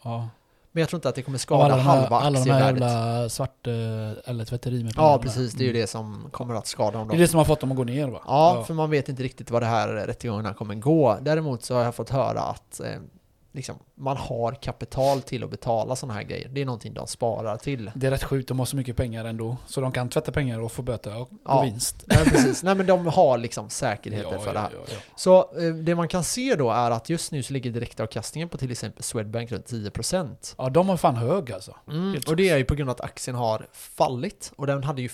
Speaker 2: Ja.
Speaker 1: men jag tror inte att det kommer skada
Speaker 2: Av alla de här,
Speaker 1: halva
Speaker 2: alla de här
Speaker 1: aktievärdet.
Speaker 2: jävla svart... eh, Eller tvätteri med pengar
Speaker 1: ja,
Speaker 2: där.
Speaker 1: precis. Det är ju
Speaker 2: Mm.
Speaker 1: det som kommer att skada dem.
Speaker 2: Det
Speaker 1: Då.
Speaker 2: är det som har fått dem att gå ner va?
Speaker 1: Ja, för man vet inte riktigt vad det här rättegångarna kommer gå. Däremot så har jag fått höra att eh, liksom, man har kapital till att betala sådana här grejer. Det är någonting de sparar
Speaker 2: *laughs*
Speaker 1: till.
Speaker 2: Det är rätt sjukt, de har så mycket pengar ändå. Så de kan tvätta pengar och få böter och
Speaker 1: Ja.
Speaker 2: och vinst.
Speaker 1: Nej, precis. Nej, men de har liksom säkerheter för det här.
Speaker 2: Ja, ja.
Speaker 1: Så eh, det man kan se då är att just nu så ligger direktavkastningen på till exempel Swedbank runt 10%.
Speaker 2: ja, de har fan hög alltså.
Speaker 1: Mm.
Speaker 2: Helt
Speaker 1: Och det är ju på grund av att aktien har fallit och den hade ju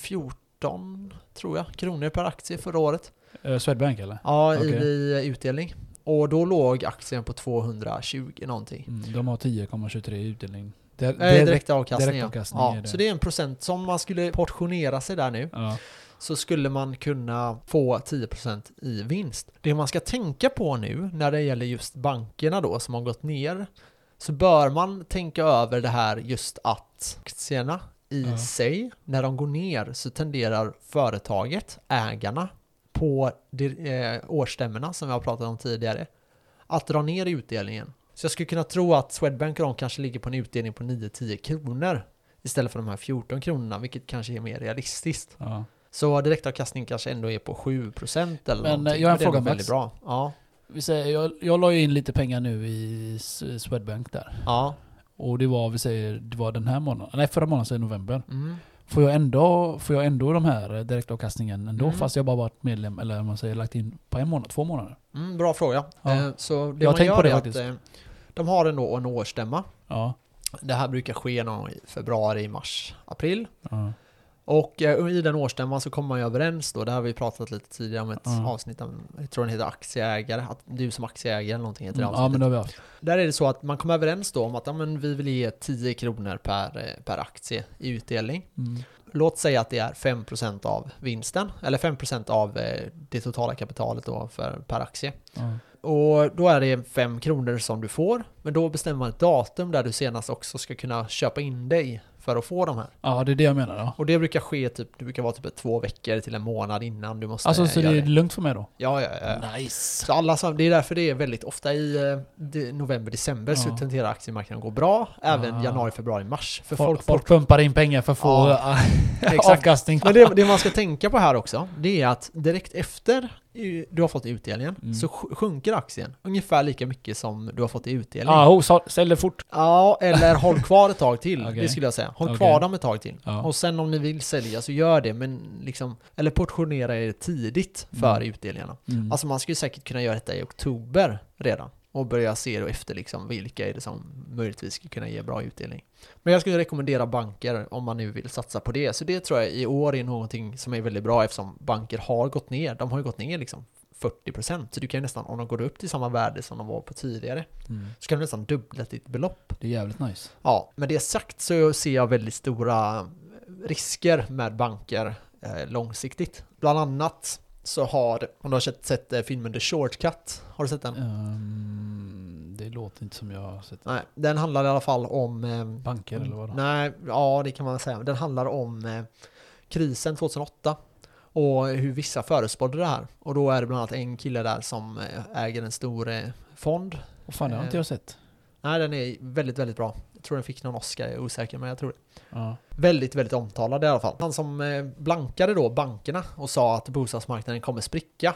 Speaker 1: 14 tror jag, kronor per aktie förra året.
Speaker 2: Eh, Swedbank eller?
Speaker 1: Ja, i,
Speaker 2: Okej.
Speaker 1: i utdelning. Och då låg aktien på 220 någonting.
Speaker 2: Mm, de har 10,23 i utdelning. Det,
Speaker 1: Nej,
Speaker 2: direkt-
Speaker 1: direktavkastning,
Speaker 2: direktavkastning
Speaker 1: ja.
Speaker 2: är
Speaker 1: ja.
Speaker 2: det.
Speaker 1: Så det är en procent. Som man skulle portionera sig där nu
Speaker 2: Ja.
Speaker 1: så skulle man kunna få 10% i vinst. Det man ska tänka på nu när det gäller just bankerna då som har gått ner så bör man tänka över det här just att aktierna i
Speaker 2: Ja.
Speaker 1: sig, när de går ner så tenderar företaget, ägarna på de- eh, årsstämmorna som vi har pratat om tidigare att dra ner i utdelningen. Så jag skulle kunna tro att Swedbank och de kanske ligger på en utdelning på 9-10 kronor istället för de här 14 kronorna, vilket kanske är mer realistiskt.
Speaker 2: Ja.
Speaker 1: Så direktavkastning kanske ändå är på 7% eller
Speaker 2: Men,
Speaker 1: någonting.
Speaker 2: eh, jag har en
Speaker 1: Det är nog
Speaker 2: fråga, Max.
Speaker 1: väldigt bra. Ja,
Speaker 2: Vi säger, jag, jag la ju in lite pengar nu i S- Swedbank där.
Speaker 1: ja.
Speaker 2: Och det var, vi säger, det var den här månaden. Nej, förra månaden, så i november.
Speaker 1: Mm.
Speaker 2: Får jag ändå, får jag ändå de här eh, direktavkastningen ändå?
Speaker 1: Mm.
Speaker 2: Fast jag bara varit medlem, eller om man säger lagt in på en månad, två månader.
Speaker 1: Mm, bra fråga.
Speaker 2: Ja.
Speaker 1: Eh, Så det
Speaker 2: Jag har
Speaker 1: man
Speaker 2: tänkt
Speaker 1: gör
Speaker 2: på det
Speaker 1: är att
Speaker 2: faktiskt.
Speaker 1: eh, de har ändå en årsstämma.
Speaker 2: Ja.
Speaker 1: Det här brukar ske någon gång i februari, mars, april.
Speaker 2: ja.
Speaker 1: Och eh, i den årsstämman så kommer man ju överens då, det här har vi pratat lite tidigare om ett
Speaker 2: Ja.
Speaker 1: avsnitt om, jag tror den heter aktieägare, att du som aktieägare eller någonting heter det
Speaker 2: Mm, ja,
Speaker 1: avsnittet.
Speaker 2: men det har vi haft.
Speaker 1: Där är det så att man kommer överens då om att ja, men vi vill ge 10 kronor per, eh, per aktie i utdelning.
Speaker 2: Mm.
Speaker 1: Låt säga att det är 5% av vinsten, eller 5% av eh, det totala kapitalet då för, per aktie.
Speaker 2: Ja.
Speaker 1: Och då är det 5 kronor som du får, men då bestämmer man ett datum där du senast också ska kunna köpa in dig för att få de här.
Speaker 2: ja, det är det jag menar. Ja.
Speaker 1: Och det brukar ske typ, det brukar vara typ två veckor till en månad innan du måste
Speaker 2: Alltså,
Speaker 1: eh,
Speaker 2: så
Speaker 1: göra
Speaker 2: det
Speaker 1: det.
Speaker 2: är lugnt för mig då?
Speaker 1: Ja, ja, ja.
Speaker 2: Nice!
Speaker 1: Så alla som, det är därför det är väldigt ofta i eh, de- november, december så
Speaker 2: Ja.
Speaker 1: tenderar aktiemarknaden att gå bra. Även
Speaker 2: Ah.
Speaker 1: januari, februari, mars. För
Speaker 2: Folk,
Speaker 1: folk,
Speaker 2: folk, pumpar in pengar för att få *laughs*
Speaker 1: Ja. Exakt.
Speaker 2: avkastning.
Speaker 1: Men det, det man ska tänka på här också, det är att direkt efter i- du har fått utdelningen
Speaker 2: Mm.
Speaker 1: så sj- sjunker aktien ungefär lika mycket som du har fått i utdelning.
Speaker 2: Ja, ah, sälj det fort.
Speaker 1: Ja, eller håll kvar ett tag
Speaker 2: *laughs*
Speaker 1: till.
Speaker 2: Okej.
Speaker 1: Det skulle jag säga. Håll
Speaker 2: Okej.
Speaker 1: kvar dem ett tag till.
Speaker 2: Ja.
Speaker 1: Och sen om ni vill sälja så gör det, men liksom, eller portionera er tidigt för
Speaker 2: Mm.
Speaker 1: utdelningarna.
Speaker 2: Mm.
Speaker 1: Alltså man skulle säkert kunna göra detta i oktober redan och börja se då efter liksom vilka är det som möjligtvis skulle kunna ge bra utdelning. Men jag skulle rekommendera banker om man nu vill satsa på det. Så det tror jag i år är någonting som är väldigt bra eftersom banker har gått ner. De har ju gått ner liksom 40% så du kan ju nästan, om de går upp till samma värde som de var på tidigare,
Speaker 2: mm.
Speaker 1: så kan du nästan dubbla ditt belopp.
Speaker 2: Det är jävligt nice.
Speaker 1: Ja, med det sagt så ser jag väldigt stora risker med banker eh, långsiktigt. Bland annat så har, om du har sett, sett eh, filmen The Shortcut, har du sett den?
Speaker 2: Ehm, det låter inte som jag har sett
Speaker 1: Nej, den handlar i alla fall om... eh,
Speaker 2: banker eller vad då?
Speaker 1: Nej, ja det kan man säga. Den handlar om eh, krisen 2008 och hur vissa förespådde det här. Och då är det bland annat en kille där som eh, äger en stor eh, fond.
Speaker 2: Vad fan, det har inte jag sett.
Speaker 1: Nej, den är väldigt, väldigt bra. Jag tror den fick någon Oscar, jag är osäker, men jag tror
Speaker 2: Ja.
Speaker 1: Väldigt, väldigt omtalad i alla fall. Han som eh, blankade då bankerna och sa att bostadsmarknaden kommer spricka.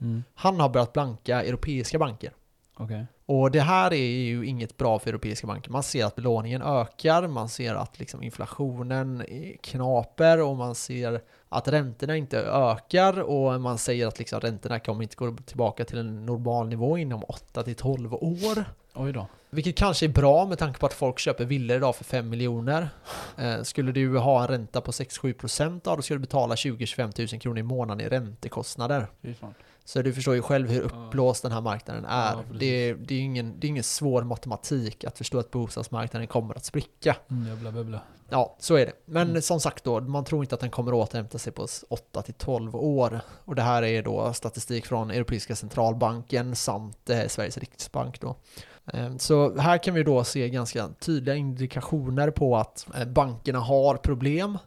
Speaker 2: Mm.
Speaker 1: Han har börjat blanka europeiska banker.
Speaker 2: Okej.
Speaker 1: Och det här är ju inget bra för europeiska banker. Man ser att belåningen ökar, man ser att liksom inflationen är knaper och man ser att räntorna inte ökar och man säger att liksom räntorna kommer inte gå tillbaka till en normal nivå inom 8 till 12 år.
Speaker 2: Oj då.
Speaker 1: Vilket kanske är bra med tanke på att folk köper villor idag för 5 miljoner. Eh, skulle du ha en ränta på 6-7% ja, då skulle du betala 20-25 000 kronor i månaden i räntekostnader.
Speaker 2: Fy fan.
Speaker 1: Så du förstår ju själv hur uppblåst den här marknaden är.
Speaker 2: Ja, precis.
Speaker 1: det, det är ju ingen, det är ingen svår matematik att förstå att bostadsmarknaden kommer att spricka.
Speaker 2: Mm, jävla bubbla.
Speaker 1: Ja, så är det. Men
Speaker 2: Mm.
Speaker 1: som sagt då, man tror inte att den kommer att återhämta sig på 8-12 år. Och det här är då statistik från Europeiska centralbanken samt eh, Sveriges riksbank då. Eh, Så här kan vi då se ganska tydliga indikationer på att eh, bankerna har problem.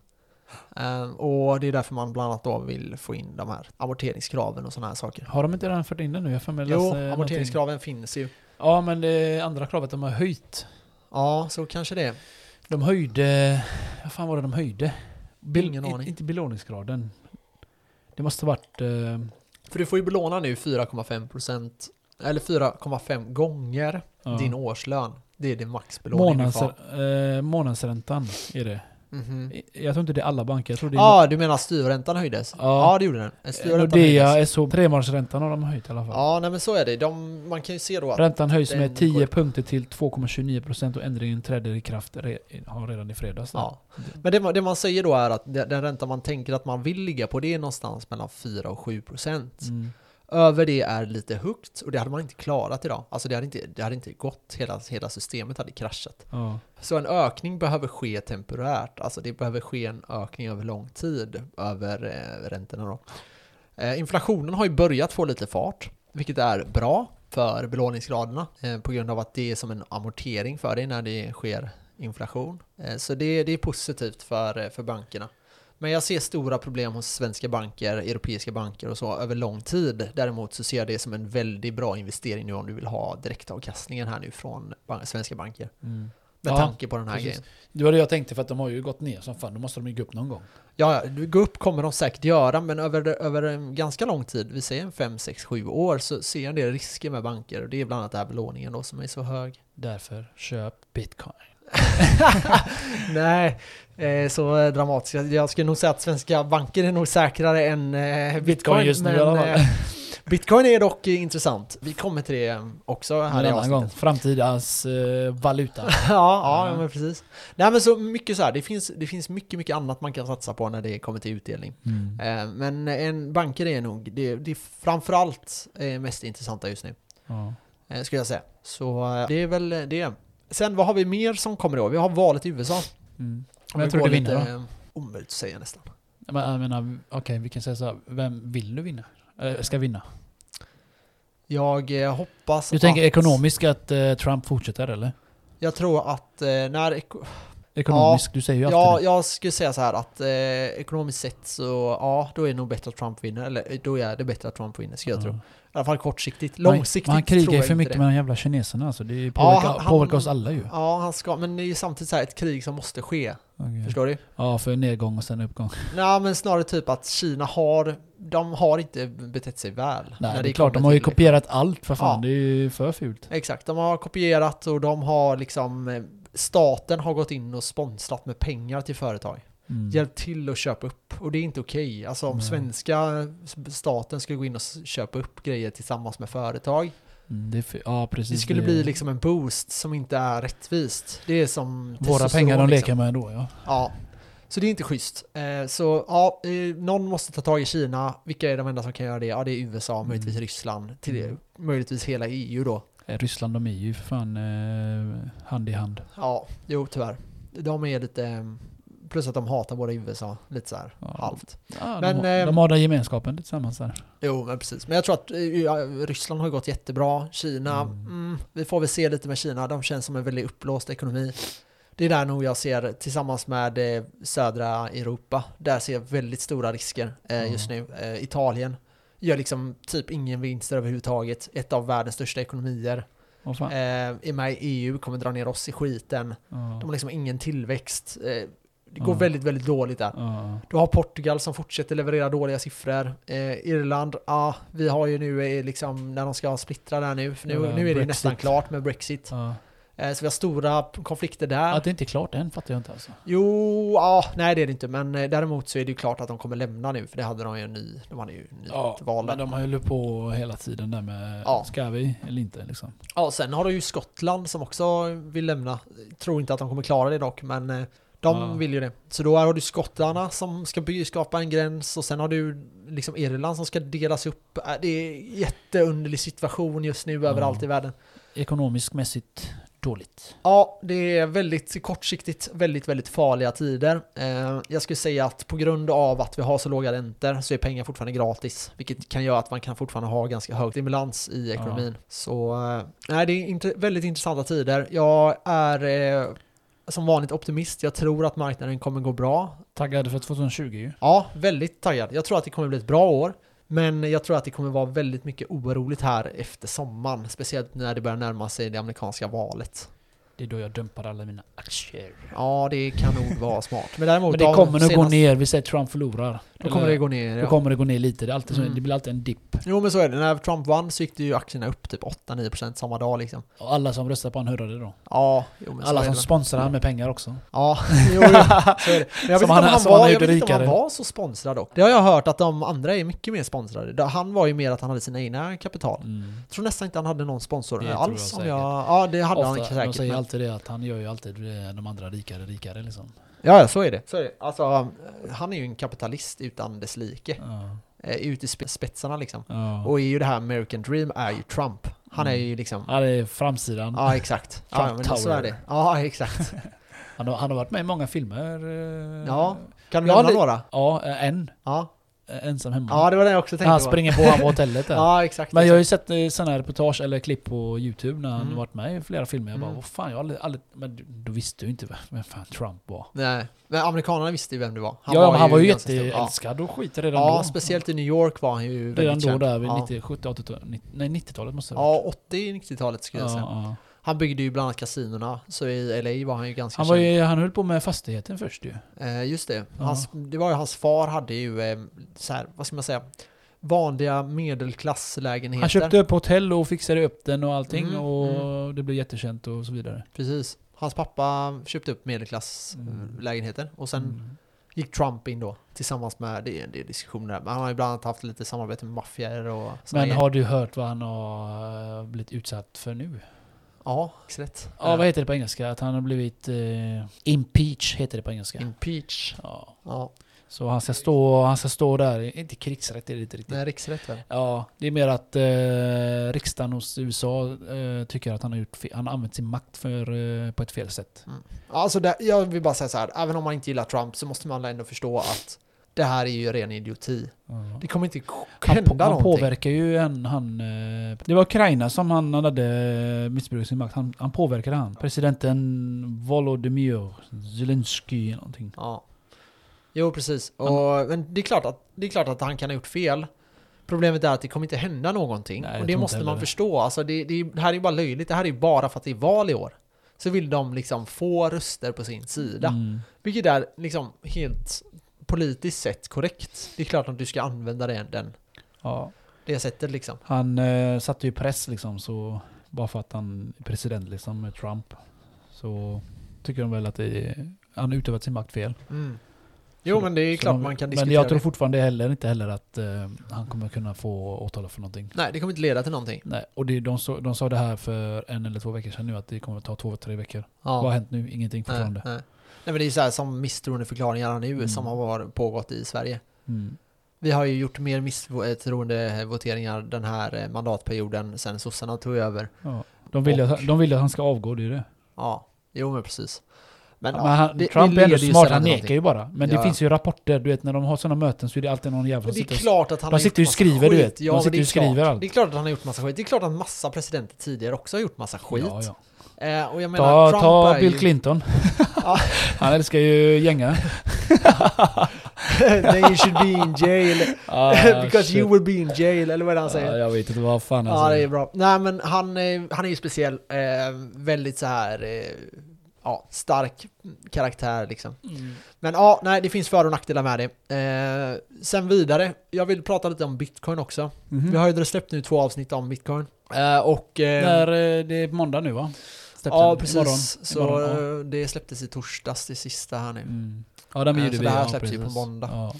Speaker 1: Eh, Och det är därför man bland annat då vill få in de här amorteringskraven och sådana här saker.
Speaker 2: Har de inte redan fört in den nu? Jag har för mig läst,
Speaker 1: Jo,
Speaker 2: eh, någonting.
Speaker 1: amorteringskraven finns ju.
Speaker 2: Ja, men det andra kravet de har höjt.
Speaker 1: Ja, så kanske det.
Speaker 2: De höjde... Vad fan var det de höjde? Bel-
Speaker 1: Ingen
Speaker 2: i-
Speaker 1: aning.
Speaker 2: Inte belåningsgraden. Det måste ha varit... eh,
Speaker 1: För du får ju belåna nu 4,5% eller 4,5 gånger
Speaker 2: ja.
Speaker 1: din årslön. Det är din maxbelåning du
Speaker 2: Månads,
Speaker 1: får.
Speaker 2: eh, månadsräntan är det.
Speaker 1: Mhm.
Speaker 2: I- Jag tror inte det är alla banker. Jag tror Mm. det är
Speaker 1: Ja, ah, du menar styrräntan höjdes?
Speaker 2: Ja.
Speaker 1: Ja, det gjorde den. Eh,
Speaker 2: Eh,
Speaker 1: Styrräntan höjdes.
Speaker 2: Nordea, SHB, tremånadersräntan har de höjt i alla fall.
Speaker 1: Ja, nej men så är det. De, man kan ju se då att...
Speaker 2: Räntan höjs
Speaker 1: den
Speaker 2: med 10
Speaker 1: går-
Speaker 2: punkter till 2,29% och ändringen träder i kraft re, har redan i fredags. där.
Speaker 1: Ja. Men det, man- det man säger då är att de- den ränta man tänker att man vill ligga på det är någonstans mellan 4 och 7 procent.
Speaker 2: Mm.
Speaker 1: Över det är lite högt och det hade man inte klarat idag. Alltså det hade inte, det hade inte gått, hela, hela systemet hade kraschat.
Speaker 2: Ja.
Speaker 1: Så en ökning behöver ske temporärt, alltså det behöver ske en ökning över lång tid, över eh, räntorna då. Eh, inflationen har ju börjat få lite fart, vilket är bra för belåningsgraderna eh, på grund av att det är som en amortering för dig när det sker inflation. Eh, så det, det är positivt för, eh, för bankerna. Men jag ser stora problem hos svenska banker, europeiska banker och så över lång tid. Däremot så ser jag det som en väldigt bra investering nu om du vill ha direktavkastningen här nu från ban- svenska banker. Med
Speaker 2: Ja,
Speaker 1: tanke på den här
Speaker 2: precis.
Speaker 1: grejen.
Speaker 2: Det var det jag tänkte för att de har ju gått ner som fan, då måste de ju gå upp någon gång.
Speaker 1: Ja, ja, gå upp kommer de säkert göra, men över, över en ganska lång tid, vi säger en 5, 6, 7 år, så ser jag en del risker med banker. Och det är bland annat den här belåningen då som är så hög.
Speaker 2: Därför, köp bitcoin.
Speaker 1: *laughs* Nej, eh, så dramatiskt. Jag- Jag skulle nog säga att svenska banker är nog säkrare än eh, bitcoin.
Speaker 2: just nu i
Speaker 1: men,
Speaker 2: alla fall.
Speaker 1: eh, Bitcoin är dock eh, intressant. Vi kommer till det eh, också här
Speaker 2: En
Speaker 1: i
Speaker 2: annan
Speaker 1: avsnittet.
Speaker 2: gång. Framtidens eh, valuta.
Speaker 1: *laughs* ja, ja
Speaker 2: Ja.
Speaker 1: men precis. Nej men så mycket så här, det finns, det finns mycket, mycket annat man kan satsa på när det kommer till utdelning.
Speaker 2: Mm.
Speaker 1: Eh, Men en banker är nog det, det är framförallt eh, mest intressanta just nu,
Speaker 2: Ja. Mm.
Speaker 1: eh, skulle jag säga. Så eh, det är väl eh, det. Sen vad har vi mer som kommer då? Vi har valet i USA.
Speaker 2: Mm.
Speaker 1: Om
Speaker 2: Men jag
Speaker 1: vi
Speaker 2: tror
Speaker 1: går
Speaker 2: du vinner
Speaker 1: lite, eh, Omöjligt att säga nästan.
Speaker 2: Men jag menar, okej vi kan säga så här, vem vill du vinna? Eh, ska vinna?
Speaker 1: Jag eh, hoppas
Speaker 2: Du tänker
Speaker 1: att,
Speaker 2: ekonomiskt att eh, Trump fortsätter eller?
Speaker 1: Jag tror att eh, när... eko-
Speaker 2: Ekonomiskt, du säger ju alltid
Speaker 1: Ja,
Speaker 2: det.
Speaker 1: jag skulle säga så här att eh, ekonomiskt sett så ja, då är det nog bättre att Trump vinner. Eller eh, då är det bättre att Trump vinner, skulle jag tro. I
Speaker 2: Ja.
Speaker 1: alla fall kortsiktigt.
Speaker 2: Men-
Speaker 1: Långsiktigt
Speaker 2: men Han krigar
Speaker 1: tror
Speaker 2: ju
Speaker 1: jag
Speaker 2: för
Speaker 1: inte
Speaker 2: mycket
Speaker 1: det.
Speaker 2: med de jävla kineserna alltså. Det påverkar,
Speaker 1: han- han-
Speaker 2: påverkar oss alla ju.
Speaker 1: Ja, han ska, men det är ju samtidigt så här ett krig som måste ske.
Speaker 2: Okej.
Speaker 1: Förstår du?
Speaker 2: Ja, för nedgång och sen uppgång.
Speaker 1: Nej, men snarare typ att Kina har, de har inte betett sig väl.
Speaker 2: Nej,
Speaker 1: när
Speaker 2: det är klart. De har ju
Speaker 1: kommer till-
Speaker 2: kopierat allt för fan.
Speaker 1: Ja.
Speaker 2: Det är ju för fult.
Speaker 1: Exakt, de har kopierat och de har liksom, eh, staten har gått in och sponsrat med pengar till företag.
Speaker 2: Mm.
Speaker 1: Hjälpt till att köpa upp och det är inte okej. Alltså om
Speaker 2: Nej.
Speaker 1: svenska staten skulle gå in och s- köpa upp grejer tillsammans med företag.
Speaker 2: Mm, det är för, ja, precis.
Speaker 1: Det skulle bli liksom en boost som inte är rättvist. Det är som
Speaker 2: Våra
Speaker 1: testosteron,
Speaker 2: pengar de
Speaker 1: liksom.
Speaker 2: leker med då ja.
Speaker 1: Ja. Så det är inte schysst. Eh, så ja, eh, någon måste ta tag i Kina. Vilka är de enda som kan göra det? Ja, det är USA, möjligtvis Ryssland, till det,
Speaker 2: Mm.
Speaker 1: möjligtvis hela EU då.
Speaker 2: Eh, Ryssland de är ju för fan eh, hand i hand.
Speaker 1: Ja, jo tyvärr. De är lite, eh, plus att de hatar både USA, lite så här
Speaker 2: Ja.
Speaker 1: halvt.
Speaker 2: Ja,
Speaker 1: Men,
Speaker 2: de, har-
Speaker 1: eh,
Speaker 2: de har den gemenskapen tillsammans där.
Speaker 1: Jo, men precis. Men jag tror att eh, ja, Ryssland har gått jättebra. Kina, mm.
Speaker 2: Mm.
Speaker 1: vi får väl se lite med Kina. De känns som en väldigt uppblåst ekonomi. Det är där nog jag ser, tillsammans med eh, södra Europa, där ser jag väldigt stora risker
Speaker 2: Mm.
Speaker 1: eh, just nu. Eh, Italien gör liksom typ ingen vinster överhuvudtaget. Ett av världens största ekonomier.
Speaker 2: Åh, fan.
Speaker 1: Eh, är med i EU, kommer dra ner oss i skiten.
Speaker 2: Ja.
Speaker 1: De har liksom ingen tillväxt. Eh, det går
Speaker 2: Ja.
Speaker 1: väldigt, väldigt dåligt där.
Speaker 2: Ja.
Speaker 1: Du har Portugal som fortsätter leverera dåliga siffror. Eh, Irland, ja, ah, vi har ju nu eh, liksom när de ska splittra där nu, för nu,
Speaker 2: Ja,
Speaker 1: nu är det ju
Speaker 2: Brexit.
Speaker 1: nästan klart med Brexit.
Speaker 2: Ja.
Speaker 1: Eh, så vi har stora p- konflikter där.
Speaker 2: Att det inte är klart än fattar jag inte alltså.
Speaker 1: Jo, ja, ah, nej det är det inte, men eh, däremot så är det ju klart att de kommer lämna nu, för det hade de ju en ny, de hade ju nytt val där.
Speaker 2: men de har ju hållit på hela tiden där med
Speaker 1: Ja.
Speaker 2: ska vi eller inte liksom.
Speaker 1: Ja, och sen har du ju Skottland som också vill lämna. Tror inte att de kommer klara det dock, men eh, de
Speaker 2: Ja.
Speaker 1: vill ju det. Så då har du skottarna som ska by- skapa en gräns och sen har du liksom Irland som ska delas upp. Äh, Det är en jätteunderlig situation just nu
Speaker 2: Ja.
Speaker 1: överallt i världen.
Speaker 2: Ekonomiskt mässigt dåligt.
Speaker 1: Ja, det är väldigt kortsiktigt, väldigt, väldigt farliga tider. Eh, Jag skulle säga att på grund av att vi har så låga räntor så är pengar fortfarande gratis, vilket kan göra att man kan fortfarande ha ganska hög stimulans i ekonomin. Så eh, nej, det är inte, väldigt intressanta tider. Jag är eh, som vanligt optimist. Jag tror att marknaden kommer gå bra.
Speaker 2: Taggade för 2020 ju.
Speaker 1: Ja, väldigt taggad. Jag tror att det kommer bli ett bra år. Men jag tror att det kommer vara väldigt mycket oroligt här efter sommaren. Speciellt när det börjar närma sig det amerikanska valet.
Speaker 2: Det är då jag dumpar alla mina aktier.
Speaker 1: Ja, det kan nog vara smart. Men däremot...
Speaker 2: Men det
Speaker 1: de
Speaker 2: kommer nog gå
Speaker 1: senaste-
Speaker 2: ner, vi säger Trump förlorar.
Speaker 1: Då kommer det gå ner.
Speaker 2: då
Speaker 1: Ja.
Speaker 2: kommer det gå ner lite, det, är alltid så,
Speaker 1: Mm.
Speaker 2: det blir alltid en dipp.
Speaker 1: Jo, men så är det. När Trump vann så gick det ju aktierna upp typ 8-9% samma dag liksom.
Speaker 2: Och alla som röstar på honom hörde det då.
Speaker 1: Ja, jo, men så
Speaker 2: alla
Speaker 1: är
Speaker 2: som
Speaker 1: det.
Speaker 2: sponsrar han med pengar också.
Speaker 1: Ja,
Speaker 2: *laughs*
Speaker 1: jo, jo, så är det. Men jag vet
Speaker 2: Som
Speaker 1: inte om
Speaker 2: han-
Speaker 1: han
Speaker 2: som han
Speaker 1: var,
Speaker 2: har
Speaker 1: jag
Speaker 2: gjort
Speaker 1: vet inte om han
Speaker 2: rikare.
Speaker 1: var så sponsrad dock. Det har jag hört att de andra är mycket mer sponsrade. Det- Han var ju mer att han hade sina egna kapital. Jag tror nästan inte han hade någon sponsor
Speaker 2: Det tror jag
Speaker 1: alls. om
Speaker 2: säkert.
Speaker 1: jag, ja, det hade han
Speaker 2: Ofta, de
Speaker 1: säkert.
Speaker 2: säger
Speaker 1: men-
Speaker 2: alltid det att han gör ju alltid eh, de andra rikare rikare liksom.
Speaker 1: Ja, ja, så är det. Så är det. Alltså, han är ju en kapitalist utan dess like.
Speaker 2: Ja.
Speaker 1: eh, ut i spe- spetsarna liksom.
Speaker 2: Ja.
Speaker 1: Och är ju det här American Dream är ju Trump. Han är ju liksom...
Speaker 2: Mm. ja, det är framsidan.
Speaker 1: Ja, exakt. Ja,
Speaker 2: Trump
Speaker 1: men så är
Speaker 2: Tower.
Speaker 1: det. Ja,
Speaker 2: *laughs*
Speaker 1: exakt.
Speaker 2: Han, har, han har varit med i många filmer. eh,
Speaker 1: Ja. Kan du
Speaker 2: Ja,
Speaker 1: nämna
Speaker 2: det-
Speaker 1: några?
Speaker 2: Ja, eh, en.
Speaker 1: Ja.
Speaker 2: Eh, Ensam hemma.
Speaker 1: ja, det var det jag också tänkte
Speaker 2: han
Speaker 1: på.
Speaker 2: springer på han på hotellet där.
Speaker 1: Ja, exakt.
Speaker 2: Men jag har ju sett eh, sådana här reportage eller klipp på youtube när han
Speaker 1: Mm.
Speaker 2: varit med i flera filmer. Jag bara,
Speaker 1: Mm.
Speaker 2: vad fan, jag har aldrig, aldrig... Men du- då visste du ju inte vem- vem fan Trump var.
Speaker 1: Nej, men amerikanerna visste ju vem det var.
Speaker 2: ja, men han var ju
Speaker 1: ganska stor. Ja.
Speaker 2: jätteälskad och skit redan
Speaker 1: ja,
Speaker 2: då.
Speaker 1: speciellt i New York var han ju
Speaker 2: Redan
Speaker 1: väldigt
Speaker 2: då
Speaker 1: känd.
Speaker 2: där vid
Speaker 1: ja.
Speaker 2: 90, 70, 80-talet, nitt- nej 90-talet måste det ha
Speaker 1: Ja, 80-90-talet skulle jag
Speaker 2: varit.
Speaker 1: säga.
Speaker 2: ja.
Speaker 1: Han byggde ju bland annat kasinorna, så i LA var han ju ganska
Speaker 2: Han, var ju, han höll på med fastigheten först ju.
Speaker 1: känd. Eh, just det.
Speaker 2: Ja.
Speaker 1: Hans, det var ju hans far hade ju, eh, så här, vad ska man säga, vanliga medelklasslägenheter.
Speaker 2: Han köpte upp hotell och fixade upp den och allting
Speaker 1: Mm,
Speaker 2: och det blev jättekänt och så vidare.
Speaker 1: Precis. Hans pappa köpte upp medelklasslägenheter och sen
Speaker 2: Mm.
Speaker 1: gick Trump in då tillsammans med, det är en del diskussioner där, men han har ju bland annat haft lite samarbete med maffior och såna
Speaker 2: Men
Speaker 1: grejer.
Speaker 2: har du hört vad han har eh, blivit utsatt för nu?
Speaker 1: Ja, rätt.
Speaker 2: Ja, vad heter det på engelska? Att han har blivit eh, impeach heter det på engelska.
Speaker 1: Impeach.
Speaker 2: Ja.
Speaker 1: Ja,
Speaker 2: Så han ska, stå, han ska stå där, inte krigsrätt är det inte riktigt.
Speaker 1: nej, riksrätt väl?
Speaker 2: Ja, det är mer att eh, riksdagen hos USA eh, tycker att han har, gjort fe- han har använt sin makt för, eh, på ett fel sätt.
Speaker 1: Alltså, det, jag vill bara säga så här, även om man inte gillar Trump så måste man ändå förstå att det här är ju ren idioti. Det kommer inte k-
Speaker 2: Han,
Speaker 1: hända
Speaker 2: på, han
Speaker 1: någonting.
Speaker 2: påverkar ju en, han... eh, Det var Ukraina som han hade missbrukat sin makt. Han, han påverkade han. Presidenten Volodymyr Zelensky någonting.
Speaker 1: Ja. Jo, precis. Och, men det är, klart att, det är klart att han kan ha gjort fel. Problemet är att det kommer inte hända någonting.
Speaker 2: Nej, jag
Speaker 1: och
Speaker 2: tror
Speaker 1: det
Speaker 2: inte
Speaker 1: måste
Speaker 2: heller
Speaker 1: man
Speaker 2: det.
Speaker 1: förstå. Alltså, det, det, är- det här är ju bara löjligt. Det här är ju bara för att det är val i år. Så vill de liksom få röster på sin sida.
Speaker 2: Mm.
Speaker 1: Vilket är liksom helt politiskt sett korrekt. Det är klart att du ska använda den, den,
Speaker 2: Ja.
Speaker 1: det sättet liksom.
Speaker 2: Han eh, satte ju press liksom så... Bara för att han är president liksom med Trump. Så tycker de väl att det är, han har utövat sin makt fel.
Speaker 1: Mm. Jo,
Speaker 2: Så-
Speaker 1: men det är
Speaker 2: så
Speaker 1: klart
Speaker 2: de-
Speaker 1: man kan
Speaker 2: Men
Speaker 1: diskutera
Speaker 2: jag tror
Speaker 1: det.
Speaker 2: fortfarande heller, inte heller att eh, han kommer kunna få åtala för någonting.
Speaker 1: Nej, det kommer inte leda till någonting.
Speaker 2: Nej, och det, de, så, de sa det här för en eller två veckor sedan nu att det kommer ta två, tre veckor.
Speaker 1: Ja.
Speaker 2: Vad har hänt nu? Ingenting
Speaker 1: nej, nej.
Speaker 2: fortfarande.
Speaker 1: nej, men det är så här som misstroendeförklaringarna nu
Speaker 2: Mm.
Speaker 1: som har varit- pågått i Sverige.
Speaker 2: Mm.
Speaker 1: Vi har ju gjort mer misstroendevoteringar den här eh, mandatperioden sen sossarna tog över.
Speaker 2: Ja. De, vill ju att, de vill ju att han ska avgå, det är ju det.
Speaker 1: Ja, jo men precis. Men,
Speaker 2: Men han,
Speaker 1: det-
Speaker 2: Trump
Speaker 1: det
Speaker 2: är ändå
Speaker 1: leder ju
Speaker 2: smart,
Speaker 1: sällan
Speaker 2: han
Speaker 1: till
Speaker 2: nekar ju bara. Men
Speaker 1: Ja.
Speaker 2: det finns ju rapporter, du vet när de har sådana möten så är det alltid någon jävel
Speaker 1: Men
Speaker 2: som
Speaker 1: alltså, det är
Speaker 2: sitter och...
Speaker 1: klart att han
Speaker 2: De
Speaker 1: har
Speaker 2: sitter
Speaker 1: gjort
Speaker 2: ju och
Speaker 1: massa
Speaker 2: skriver, du
Speaker 1: skit.
Speaker 2: vet. De
Speaker 1: men
Speaker 2: sitter
Speaker 1: det är
Speaker 2: ju och skriver
Speaker 1: klart.
Speaker 2: allt.
Speaker 1: Det är klart att han har gjort massa skit. Det är klart att massa presidenter tidigare också har gjort massa skit.
Speaker 2: Ja, ja.
Speaker 1: Eh, och jag menar,
Speaker 2: Ta,
Speaker 1: Trump
Speaker 2: ta
Speaker 1: är
Speaker 2: Bill
Speaker 1: ju... *laughs*
Speaker 2: Clinton.
Speaker 1: Ja.
Speaker 2: *laughs* han älskar ju gänga.
Speaker 1: *laughs* Then you should be in jail.
Speaker 2: *laughs* Ah,
Speaker 1: *laughs* Because
Speaker 2: shit.
Speaker 1: you will be in jail, eller vad är det han
Speaker 2: Ja, alltså.
Speaker 1: säger?
Speaker 2: jag vet inte vad fan han
Speaker 1: Ja, det
Speaker 2: säger.
Speaker 1: är bra. Nej, men han, eh, han är ju speciell. Eh, väldigt så här... Eh, ja, stark karaktär liksom.
Speaker 2: Mm.
Speaker 1: Men ja, nej, det finns för och nackdelar med det. Eh, sen vidare, jag vill prata lite om bitcoin också.
Speaker 2: Mhm.
Speaker 1: Vi har ju släppt nu två avsnitt om bitcoin. Eh, och... Eh,
Speaker 2: När, eh, det är måndag nu va? Släpps
Speaker 1: ja,
Speaker 2: den
Speaker 1: precis.
Speaker 2: Imorgon.
Speaker 1: så
Speaker 2: Imorgon, ja.
Speaker 1: eh, det släpptes i torsdags, det sista här nu.
Speaker 2: Mm. Ja, den
Speaker 1: Eh,
Speaker 2: bjuder
Speaker 1: så
Speaker 2: vi.
Speaker 1: det här
Speaker 2: ja,
Speaker 1: släpps ju på
Speaker 2: precis.
Speaker 1: måndag.
Speaker 2: Ja.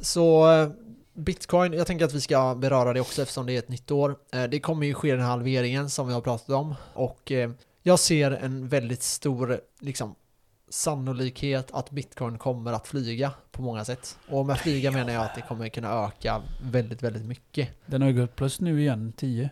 Speaker 1: Så eh, bitcoin, jag tänker att vi ska beröra det också eftersom det är ett nytt år. Eh, Det kommer ju ske den här halveringen som vi har pratat om och eh, jag ser en väldigt stor liksom, sannolikhet att bitcoin kommer att flyga på många sätt. Och med flyga menar jag att det kommer kunna öka väldigt, väldigt mycket.
Speaker 2: Den har ju gått plus nu igen, 10%.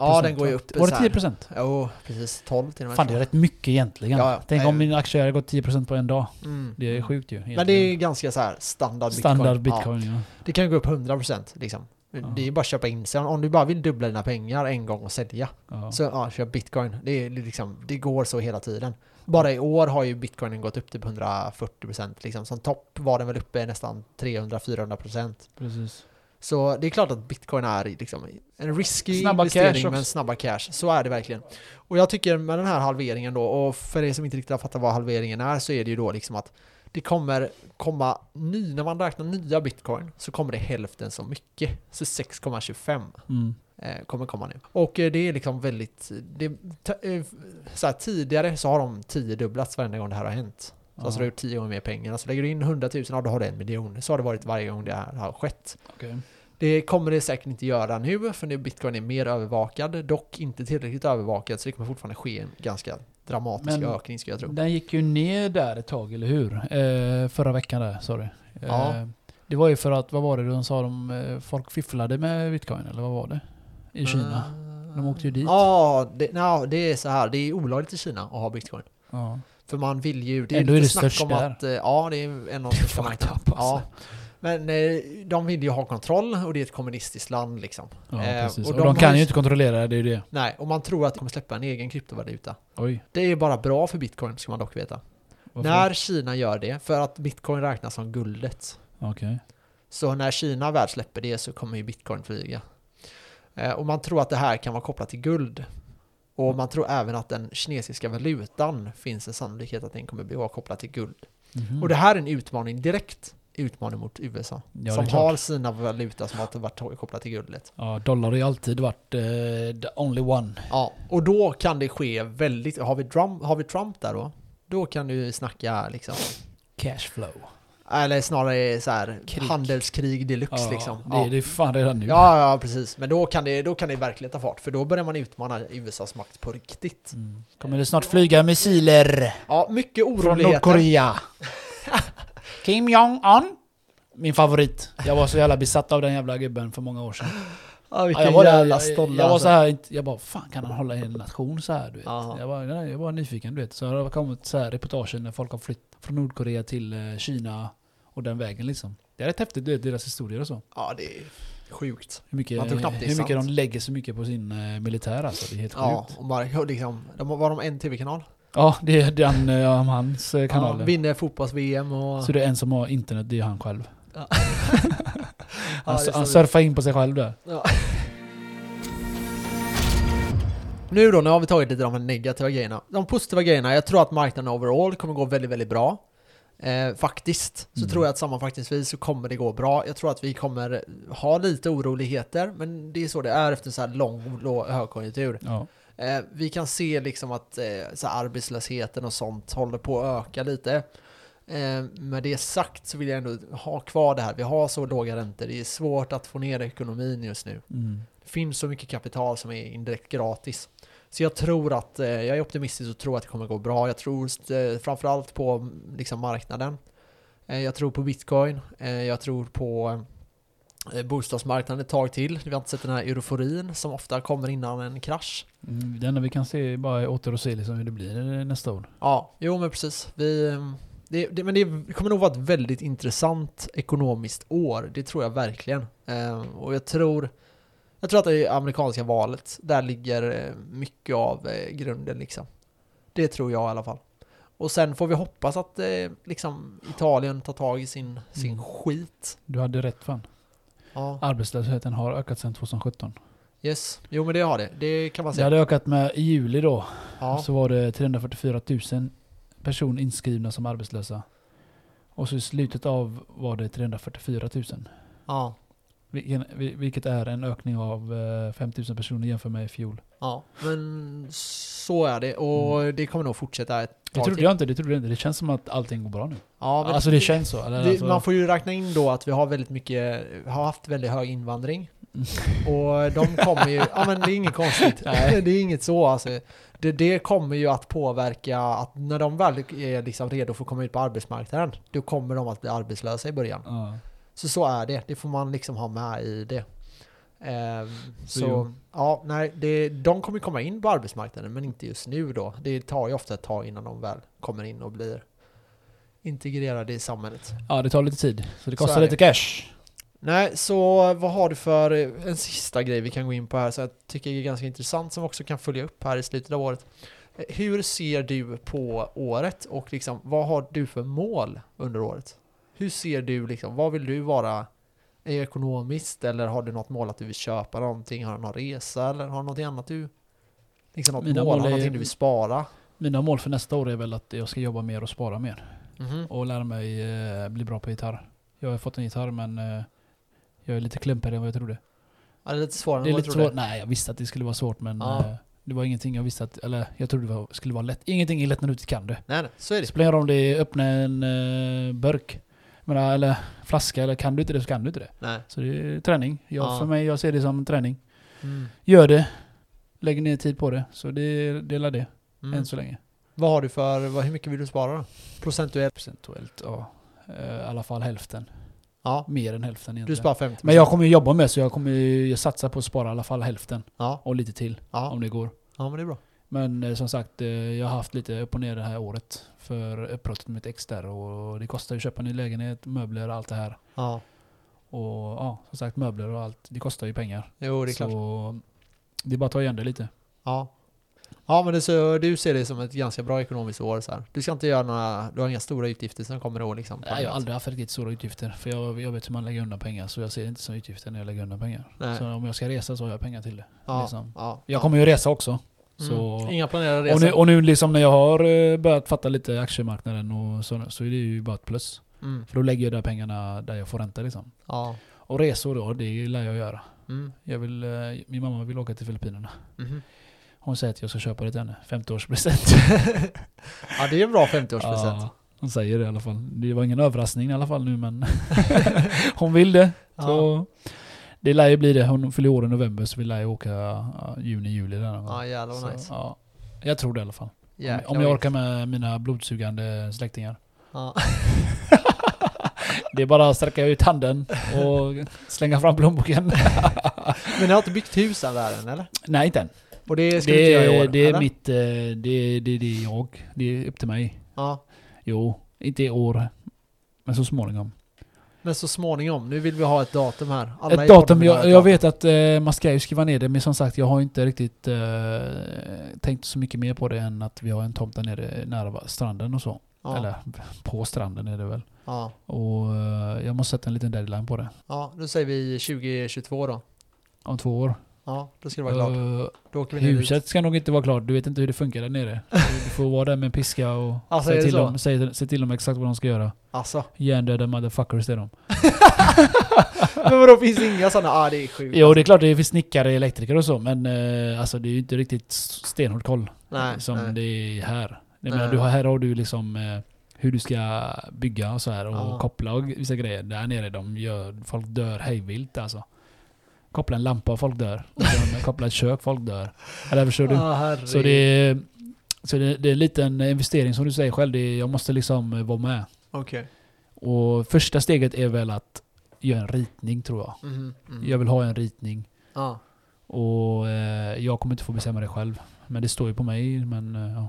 Speaker 1: Ja, den går ju upp
Speaker 2: Var
Speaker 1: så
Speaker 2: det
Speaker 1: här.
Speaker 2: 10 procent?
Speaker 1: Jo, precis. 12 till och med.
Speaker 2: Fan det är rätt mycket egentligen.
Speaker 1: Ja, ja.
Speaker 2: Tänk
Speaker 1: Nej.
Speaker 2: om min aktie hade gått 10 procent på en dag.
Speaker 1: Mm.
Speaker 2: Det är sjukt ju.
Speaker 1: Men det är
Speaker 2: egentligen.
Speaker 1: ju ganska så här standard bitcoin.
Speaker 2: Standard
Speaker 1: Ja.
Speaker 2: bitcoin ja.
Speaker 1: Det kan ju gå upp 100% liksom. Det är ju bara att köpa in sig. Om du bara vill dubbla dina pengar en gång och sälja,
Speaker 2: Ja.
Speaker 1: så ja, köp bitcoin. Det, är liksom, det går så hela tiden. Bara i år har ju bitcoinen gått upp till 140% liksom. Som topp var den väl uppe nästan 300-400%.
Speaker 2: Precis.
Speaker 1: Så det är klart att bitcoin är liksom en risky
Speaker 2: Snabba cash
Speaker 1: investering
Speaker 2: också.
Speaker 1: men snabba cash. Så är det verkligen. Och jag tycker med den här halveringen då, och för er som inte riktigt har fattat vad halveringen är så är det ju då liksom att det kommer komma ny, när man räknar nya bitcoin så kommer det hälften så mycket. Så 6,25
Speaker 2: Mm.
Speaker 1: eh, kommer komma nu. Och eh, det är liksom väldigt, det, t- eh, så här, tidigare så har de tiodubblats varenda gång det här har hänt. Så alltså du har gjort tio gånger mer pengar. Så lägger du in 100 000, ja, då har du en miljon. Så har det varit varje gång det här har skett.
Speaker 2: Okej.
Speaker 1: Det kommer det säkert inte göra nu, för nu bitcoin är mer övervakad, dock inte tillräckligt övervakad, så det kommer fortfarande ske en ganska dramatisk
Speaker 2: Men-
Speaker 1: ökning skulle jag tro.
Speaker 2: Den gick ju ner där ett tag, eller hur? Eh, förra veckan där, sorry. Eh,
Speaker 1: Ja.
Speaker 2: Det var ju för att, vad var det de sa, de, eh, folk fifflade med bitcoin eller vad var det?
Speaker 1: Mm.
Speaker 2: I Kina. De åkte ju dit.
Speaker 1: Ja, det, no, det är så här. Det är olagligt i Kina att ha bitcoin.
Speaker 2: Ja.
Speaker 1: För man vill ju... Det är
Speaker 2: Ändå
Speaker 1: lite
Speaker 2: är det
Speaker 1: snack
Speaker 2: störst
Speaker 1: om
Speaker 2: där.
Speaker 1: att... eh, Ja, det är en av de
Speaker 2: Det är
Speaker 1: största
Speaker 2: fucked
Speaker 1: marknaderna.
Speaker 2: up alltså.
Speaker 1: Ja. Men eh, de vill ju ha kontroll och det är ett kommunistiskt land liksom.
Speaker 2: Ja,
Speaker 1: Eh,
Speaker 2: precis.
Speaker 1: och
Speaker 2: Och,
Speaker 1: de
Speaker 2: de,
Speaker 1: har
Speaker 2: kan
Speaker 1: ju-
Speaker 2: ju inte kontrollera det, det är ju det.
Speaker 1: Nej, och man tror att de kommer släppa en egen kryptovaluta.
Speaker 2: Oj.
Speaker 1: Det är bara bra för bitcoin ska man dock veta.
Speaker 2: varför?
Speaker 1: När Kina gör det, för att bitcoin räknas som guldet.
Speaker 2: Okej.
Speaker 1: Så när Kina väl släpper det så kommer ju bitcoin flyga. Eh, och man tror att det här kan vara kopplat till guld. Och man tror även att den kinesiska valutan finns en sannolikhet att den kommer bli kopplad till guld.
Speaker 2: Mhm.
Speaker 1: Och det här är en utmaning direkt utmaning mot USA.
Speaker 2: Ja,
Speaker 1: som
Speaker 2: det är klart.
Speaker 1: har sina valuta som har varit kopplat till guldet.
Speaker 2: Ja, dollar har ju alltid varit eh, the only one.
Speaker 1: Ja, och då kan det ske väldigt... Har vi Trump, har vi Trump där då? Då kan du ju snacka liksom...
Speaker 2: Cashflow.
Speaker 1: Eller snarare så här
Speaker 2: Krig.
Speaker 1: handelskrig deluxe
Speaker 2: Ja,
Speaker 1: liksom.
Speaker 2: Det,
Speaker 1: Ja.
Speaker 2: det är fan redan nu.
Speaker 1: ja, ja, precis. Men då kan, det, då kan det verkligen ta fart. För då börjar man utmana USAs makt på riktigt.
Speaker 2: Mm. Kommer det snart flyga missiler
Speaker 1: Ja, mycket
Speaker 2: från
Speaker 1: oroligheter.
Speaker 2: Nordkorea? *laughs* Kim Jong-Un? Min favorit. Jag var så jävla besatt av den jävla gubben för många år sedan.
Speaker 1: Ja,
Speaker 2: Ja,
Speaker 1: vilken
Speaker 2: jag var, där-
Speaker 1: jävla
Speaker 2: jag,
Speaker 1: stolle
Speaker 2: jag var
Speaker 1: alltså.
Speaker 2: så här, inte- jag bara fan kan han hålla en nation så här du vet?
Speaker 1: Ja.
Speaker 2: Jag var, jag var nyfiken du vet. Så det har kommit så här reportagen när folk har flytt från Nordkorea till eh, Kina och den vägen liksom. Det är rätt häftigt du vet, deras historier och så.
Speaker 1: Ja, det är sjukt.
Speaker 2: Hur mycket,
Speaker 1: Man tror knappt det är
Speaker 2: hur mycket de
Speaker 1: sant.
Speaker 2: lägger så mycket på sin eh, militär alltså. Det är helt
Speaker 1: Ja,
Speaker 2: sjukt.
Speaker 1: och bara, liksom, de, var de en tv-kanal?
Speaker 2: Ja, det är den, eh, om hans eh,
Speaker 1: Ja,
Speaker 2: kanal.
Speaker 1: vinner fotbolls-VM och...
Speaker 2: så det är en som har internet, det är han själv.
Speaker 1: Ja.
Speaker 2: *laughs*
Speaker 1: Ja,
Speaker 2: Han,
Speaker 1: det är
Speaker 2: han
Speaker 1: så-
Speaker 2: surfar in på sig själv där.
Speaker 1: Nu då, nu har vi tagit lite av de negativa grejerna. De positiva grejerna, jag tror att marknaden overall kommer gå väldigt, väldigt bra. Eh, faktiskt, så
Speaker 2: Mm.
Speaker 1: tror jag att sammanfattningsvis så kommer det gå bra. Jag tror att vi kommer ha lite oroligheter, men det är så det är efter en så här lång lå- högkonjunktur.
Speaker 2: Ja.
Speaker 1: Eh, vi kan se liksom att eh, så här arbetslösheten och sånt håller på att öka lite. Eh, med det sagt så vill jag ändå ha kvar det här. Vi har så låga räntor, det är svårt att få ner ekonomin just nu.
Speaker 2: Mm.
Speaker 1: Det finns så mycket kapital som är indirekt gratis. Så jag tror att, eh, jag är optimistisk och tror att det kommer gå bra. Jag tror eh, framförallt på mm, liksom, marknaden. Eh, jag tror på bitcoin. Eh, jag tror på eh, bostadsmarknaden ett tag till. Vi har inte sett den här euforin som ofta kommer innan en krasch.
Speaker 2: Mm, Det enda vi kan se är bara åter och se liksom hur det blir eh, nästa år.
Speaker 1: Ja, jo men precis. Vi, eh, det, det, men det kommer nog vara ett väldigt intressant ekonomiskt år. Det tror jag verkligen. Eh, och jag tror, jag tror att det är amerikanska valet, där ligger eh, mycket av eh, grunden liksom. Det tror jag i alla fall. Och sen får vi hoppas att eh, liksom, Italien tar tag i sin, sin
Speaker 2: Mm.
Speaker 1: skit.
Speaker 2: Du hade rätt fan.
Speaker 1: Ja,
Speaker 2: Arbetslösheten har ökat sedan 2017.
Speaker 1: yes. Jo men det har det. Det kan man
Speaker 2: Det
Speaker 1: säga.
Speaker 2: hade ökat med i juli då.
Speaker 1: Ja,
Speaker 2: Så var det 344 000 personer inskrivna som arbetslösa. Och så i slutet av var det 344 000.
Speaker 1: ja,
Speaker 2: Vilken, vil- vilket är en ökning av eh, 5 000 personer jämfört med i fjol.
Speaker 1: ja. Men så är det. Och det kommer nog fortsätta ett
Speaker 2: Det
Speaker 1: tag
Speaker 2: trodde
Speaker 1: till.
Speaker 2: Mm. jag inte, det trodde jag inte. Det känns som att allting går bra nu.
Speaker 1: Ja, men
Speaker 2: alltså det känns så. Eller,
Speaker 1: Det,
Speaker 2: alltså,
Speaker 1: man får ju räkna in då att vi har väldigt mycket, har haft väldigt hög
Speaker 2: *laughs*
Speaker 1: invandring. Och de kommer ju, ja men det är inget konstigt.
Speaker 2: *laughs* Nej.
Speaker 1: Det är inget så alltså. Det, det kommer ju att påverka att när de väl är liksom redo för att komma ut på arbetsmarknaden, då kommer de att bli arbetslösa i början.
Speaker 2: ja.
Speaker 1: Så så är det, det får man liksom ha med i det. Ehm, så
Speaker 2: Så jo.
Speaker 1: ja, nej, det, de kommer komma in på arbetsmarknaden men inte just nu då. Det tar ju ofta ett tag innan de väl kommer in och blir integrerade i samhället.
Speaker 2: ja, det tar lite tid. Så det
Speaker 1: Så
Speaker 2: kostar
Speaker 1: är
Speaker 2: lite cash.
Speaker 1: Nej, så vad har du för eh, en sista grej vi kan gå in på här som jag tycker är ganska intressant som också kan följa upp här i slutet av året. Eh, Hur ser du på året och liksom, vad har du för mål under året? Hur ser du liksom, vad vill du vara eh, ekonomiskt eller har du något mål att du vill köpa någonting? Har du någon resa eller har du någonting annat du, liksom något
Speaker 2: Mina
Speaker 1: mål,
Speaker 2: mål
Speaker 1: har
Speaker 2: är-
Speaker 1: du någonting du vill spara?
Speaker 2: Mina mål för nästa år är väl att jag ska jobba mer och spara mer.
Speaker 1: Mhm.
Speaker 2: och lära mig eh, bli bra på gitarr. Jag har fått en gitarr men eh, jag är lite klumpigare än vad jag trodde.
Speaker 1: Ja, det är lite svårare
Speaker 2: Det
Speaker 1: än
Speaker 2: är
Speaker 1: vad jag
Speaker 2: lite
Speaker 1: trodde.
Speaker 2: svårt. Nej, jag visste att det skulle vara svårt men
Speaker 1: Ja.
Speaker 2: eh, det var ingenting jag visste att, eller jag trodde det var, skulle vara lätt. Ingenting är lätt när du inte kan det.
Speaker 1: Nej, nej, så är
Speaker 2: Det
Speaker 1: det.
Speaker 2: spelar ingen roll om det är öppna en eh, burk, jag menar, eller flaska, eller kan du inte det så kan du inte det.
Speaker 1: Nej.
Speaker 2: Så det är träning. Jag,
Speaker 1: Ja.
Speaker 2: För mig, jag ser det som träning.
Speaker 1: Mm.
Speaker 2: Gör det. Lägg ner tid på det. Så det, det är väl det,
Speaker 1: Mm.
Speaker 2: än så länge.
Speaker 1: Vad har du för, vad, hur mycket vill du spara då? Procentuellt?
Speaker 2: Procentuellt, ja. Eh, I alla fall hälften.
Speaker 1: Ja,
Speaker 2: Mer än hälften
Speaker 1: du
Speaker 2: egentligen.
Speaker 1: sparar 50
Speaker 2: Men jag kommer ju jobba med så jag kommer ju satsa på att spara i alla fall hälften.
Speaker 1: Ja,
Speaker 2: Och lite till.
Speaker 1: ja,
Speaker 2: Om det går.
Speaker 1: ja, men det är bra.
Speaker 2: Men eh, som sagt, eh, jag har haft lite upp och ner det här året. För uppbrottet med mitt ex där. Och det kostar ju att köpa en ny lägenhet, möbler och allt det här.
Speaker 1: Ja,
Speaker 2: Och ja, som sagt möbler och allt. Det kostar ju pengar.
Speaker 1: jo det är klart.
Speaker 2: Så det är bara att ta igen det lite.
Speaker 1: Ja. Ja men det, så, du ser det som ett ganska bra ekonomiskt år så här. Du ska inte göra några, du har inga stora utgifter som kommer i år liksom?
Speaker 2: Nej, jag har aldrig haft riktigt stora utgifter. För jag, jag vet hur man lägger undan pengar. Så jag ser det inte som utgifter när jag lägger undan pengar.
Speaker 1: Nej.
Speaker 2: Så om jag ska resa så har jag pengar till det.
Speaker 1: ja,
Speaker 2: liksom.
Speaker 1: ja,
Speaker 2: Jag
Speaker 1: ja.
Speaker 2: kommer ju resa också. Så,
Speaker 1: Mm. Inga planerade
Speaker 2: och, nu,
Speaker 1: resor?
Speaker 2: och nu liksom när jag har eh, börjat fatta lite aktiemarknaden och så, så är det ju bara ett plus.
Speaker 1: Mm.
Speaker 2: För då lägger jag där pengarna där jag får ränta liksom.
Speaker 1: Ja.
Speaker 2: Och resor då, det lär jag göra.
Speaker 1: Mm.
Speaker 2: Jag vill, eh, min mamma vill åka till Filippinerna.
Speaker 1: Mhm.
Speaker 2: Hon säger att jag ska köpa det till henne. 50-årspresent.
Speaker 1: ja det är en bra 50-årspresent.
Speaker 2: *laughs* Ja, hon säger det i alla fall. Det var ingen överraskning i alla fall nu men *laughs* hon vill det.
Speaker 1: Ja.
Speaker 2: Så det lär ju bli det. Hon fyller år i november så vi lär ju åka ja, juni, juli där någon gång.
Speaker 1: ja jävlar
Speaker 2: Så,
Speaker 1: vad nice.
Speaker 2: ja, Jag tror det i alla fall. Om,
Speaker 1: Jäklar
Speaker 2: om jag
Speaker 1: vad
Speaker 2: orkar med mina blodsugande släktingar.
Speaker 1: Ja.
Speaker 2: Det är bara att sträcka ut handen och slänga fram plånboken. *laughs*
Speaker 1: Men ni har inte byggt hus än där än eller?
Speaker 2: Nej, inte än.
Speaker 1: Och det ska du inte
Speaker 2: Det,
Speaker 1: göra i år?
Speaker 2: är- det är
Speaker 1: eller?
Speaker 2: mitt... eh, Det, det, det är jag. Det är upp till mig.
Speaker 1: Ja.
Speaker 2: Jo, inte i år. Men så småningom.
Speaker 1: Men så småningom, nu vill vi ha ett datum här. Alla i
Speaker 2: ett
Speaker 1: podden
Speaker 2: datum,
Speaker 1: vill ha
Speaker 2: jag,
Speaker 1: ett
Speaker 2: jag
Speaker 1: datum.
Speaker 2: vet att eh, man ska ju skriva ner det men som sagt jag har inte riktigt eh, tänkt så mycket mer på det än att vi har en tomt där nere nära va- stranden och så.
Speaker 1: Ja.
Speaker 2: Eller på stranden är det väl.
Speaker 1: Ja.
Speaker 2: Och eh, jag måste sätta en liten deadline på det.
Speaker 1: ja, då säger vi 2022 då.
Speaker 2: Om två år.
Speaker 1: Ja, då ska det vara klart.
Speaker 2: Eh,
Speaker 1: Då åker vi ner dit.
Speaker 2: huset ska nog inte vara klart, du vet inte hur det funkar
Speaker 1: *laughs*
Speaker 2: där nere. Du får vara där med en piska och
Speaker 1: Alltså, är
Speaker 2: säga,
Speaker 1: det
Speaker 2: till
Speaker 1: så?
Speaker 2: dem, säga, säga till dem exakt vad de ska göra. *laughs*
Speaker 1: Alltså.
Speaker 2: Hjärndöda motherfuckers det är de.
Speaker 1: Men vadå, finns det inga sådana? Ah, det är sjukt.
Speaker 2: Jo det är klart det finns snickare, elektriker och så men eh, alltså det är ju inte riktigt stenhård koll.
Speaker 1: nej,
Speaker 2: som
Speaker 1: nej. Eh.
Speaker 2: det är här. Jag
Speaker 1: Nej.
Speaker 2: menar, du har, här har du liksom eh, hur du ska bygga och så här och
Speaker 1: Ja.
Speaker 2: koppla och vissa grejer. Där nere de gör, folk dör hejvilt alltså. Koppla en lampa, folk dör. Och sen *laughs* koppla ett kök, folk dör. Eller förstår du?
Speaker 1: Ah, herre.
Speaker 2: Så det är, så det, det är en liten investering som du säger själv. Det är, jag måste liksom eh, vara med.
Speaker 1: Okej.
Speaker 2: Och första steget är väl att göra en ritning tror jag.
Speaker 1: Mhm, mm.
Speaker 2: Jag vill ha en ritning.
Speaker 1: Ja.
Speaker 2: Och eh, jag kommer inte få bestämma det själv. Men det står ju på mig. Men, eh, ja.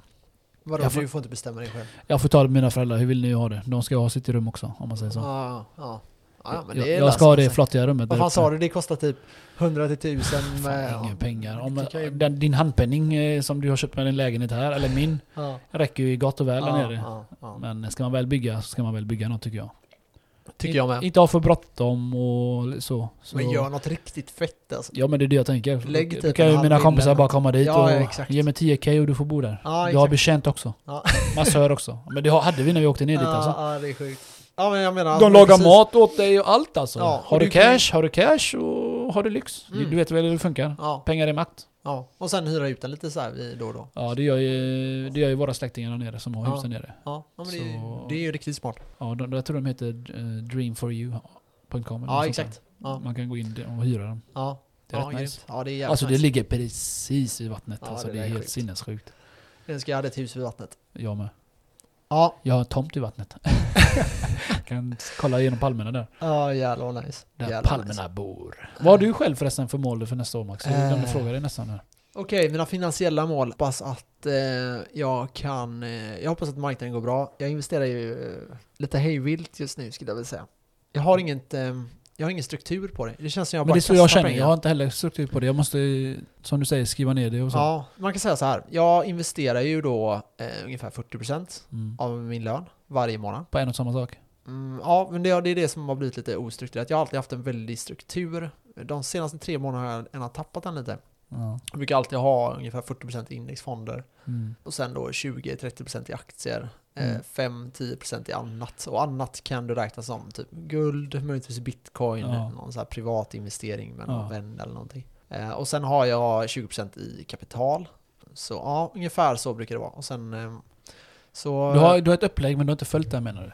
Speaker 1: Vadå,
Speaker 2: Jag får-
Speaker 1: du får inte bestämma dig själv?
Speaker 2: Jag får ta det med mina föräldrar, hur vill ni ha det? De ska ha sitt rum också, om man säger så.
Speaker 1: Ja, ja. ja, ja men det
Speaker 2: Alltså. jag,
Speaker 1: är
Speaker 2: jag ska ha det
Speaker 1: lösning.
Speaker 2: flottiga rummet.
Speaker 1: Vad
Speaker 2: där
Speaker 1: fan
Speaker 2: uppe.
Speaker 1: sa du? Det kostar typ eh, 100 till 1000 med...
Speaker 2: Fan, ingen pengar.
Speaker 1: Det
Speaker 2: Om,
Speaker 1: kan ju-
Speaker 2: den, din handpenning eh, som du har köpt med din lägenhet här, eller min,
Speaker 1: Ja.
Speaker 2: räcker ju gott och väl där
Speaker 1: Ja,
Speaker 2: nere.
Speaker 1: ja, ja.
Speaker 2: Men ska man väl bygga så ska man väl bygga något tycker jag.
Speaker 1: Tycker jag
Speaker 2: In,
Speaker 1: med.
Speaker 2: inte ha för bråttom och så. så.
Speaker 1: Men gör något riktigt fett alltså.
Speaker 2: Ja men det är det jag tänker.
Speaker 1: Lägg
Speaker 2: Då-
Speaker 1: typ
Speaker 2: Då kan
Speaker 1: en
Speaker 2: ju mina
Speaker 1: halv
Speaker 2: kompisar
Speaker 1: mille.
Speaker 2: bara komma dit
Speaker 1: Ja,
Speaker 2: och
Speaker 1: ja, exakt.
Speaker 2: ge mig 10k och du får bo där.
Speaker 1: Ja,
Speaker 2: du har
Speaker 1: exakt.
Speaker 2: betjänt också.
Speaker 1: Ja.
Speaker 2: Massör också. Men det har- hade vi när vi åkte ner dit
Speaker 1: Ja,
Speaker 2: alltså.
Speaker 1: Ja, det är sjukt. Ja, men jag menar...
Speaker 2: De
Speaker 1: men
Speaker 2: lagar
Speaker 1: precis.
Speaker 2: mat åt dig och allt alltså.
Speaker 1: Ja, och
Speaker 2: har du
Speaker 1: du kan ju-
Speaker 2: cash, har du cash och har du lyx. Du-
Speaker 1: Mm.
Speaker 2: Du vet väl hur det funkar.
Speaker 1: Ja,
Speaker 2: Pengar är makt.
Speaker 1: ja. Och sen hyra ut den lite så här vid- då och då.
Speaker 2: Ja, det gör ju, det gör ju våra släktingar där nere som har
Speaker 1: Ja.
Speaker 2: hus där nere.
Speaker 1: Ja, ja men det, är ju-
Speaker 2: Så-
Speaker 1: det är ju riktigt smart.
Speaker 2: Ja, de, jag tror de heter eh, dreamforyou.com. eller
Speaker 1: Ja,
Speaker 2: något
Speaker 1: exakt.
Speaker 2: sånt där.
Speaker 1: Ja,
Speaker 2: Man kan gå in där och hyra dem.
Speaker 1: ja.
Speaker 2: Det är
Speaker 1: ja,
Speaker 2: rätt nice.
Speaker 1: grymt. Ja, det är jävligt
Speaker 2: Alltså det
Speaker 1: nice.
Speaker 2: ligger precis i vattnet.
Speaker 1: Ja,
Speaker 2: alltså,
Speaker 1: det
Speaker 2: det, är
Speaker 1: där är
Speaker 2: helt
Speaker 1: sjukt.
Speaker 2: sinnessjukt.
Speaker 1: Jag önskar jag hade ett hus vid vattnet.
Speaker 2: Jag med.
Speaker 1: Ja,
Speaker 2: Jag har en tomt
Speaker 1: *laughs*
Speaker 2: i vattnet. kan kolla igenom palmerna där.
Speaker 1: ja jävlar vad nice.
Speaker 2: Där
Speaker 1: Jävlar alltså. vad
Speaker 2: palmerna
Speaker 1: nice.
Speaker 2: bor. Vad har du själv förresten för mål för nästa år Max? Jag glömde
Speaker 1: Eh.
Speaker 2: fråga dig nästan. Här.
Speaker 1: Okej, mina finansiella mål. Hoppas att eh, jag kan... Eh, jag hoppas att marknaden går bra. Jag investerar ju eh, lite hejvilt just nu skulle jag vilja säga. Jag har inget... Eh, jag har ingen struktur på det. Det känns som jag
Speaker 2: Men
Speaker 1: bara
Speaker 2: det är så jag
Speaker 1: kastar
Speaker 2: känner,
Speaker 1: pengar.
Speaker 2: jag har inte heller struktur på det. Jag måste, som du säger, skriva ner det och så.
Speaker 1: Ja, man kan säga så här. Jag investerar ju då eh, ungefär 40%
Speaker 2: Mm.
Speaker 1: av min lön varje månad.
Speaker 2: På en och samma sak.
Speaker 1: Mm, ja, men det, det är det som har blivit lite ostrukturerat. Jag har alltid haft en väldig struktur. De senaste tre månaderna har jag ändå tappat den lite.
Speaker 2: Ja.
Speaker 1: Jag brukar alltid ha ungefär 40% i indexfonder
Speaker 2: Mm.
Speaker 1: och sen då 20-30% i aktier. Eh,
Speaker 2: Mm.
Speaker 1: 5-10% i annat. Och annat kan du räkna som typ guld, möjligtvis bitcoin,
Speaker 2: Ja.
Speaker 1: någon så här privat investering med någon
Speaker 2: Ja.
Speaker 1: vän eller någonting. Eh, och sen har jag 20% i kapital. Så ja, ungefär så brukar det vara. Och sen eh, så...
Speaker 2: Du, har, du har ett upplägg men du har inte följt det menar du?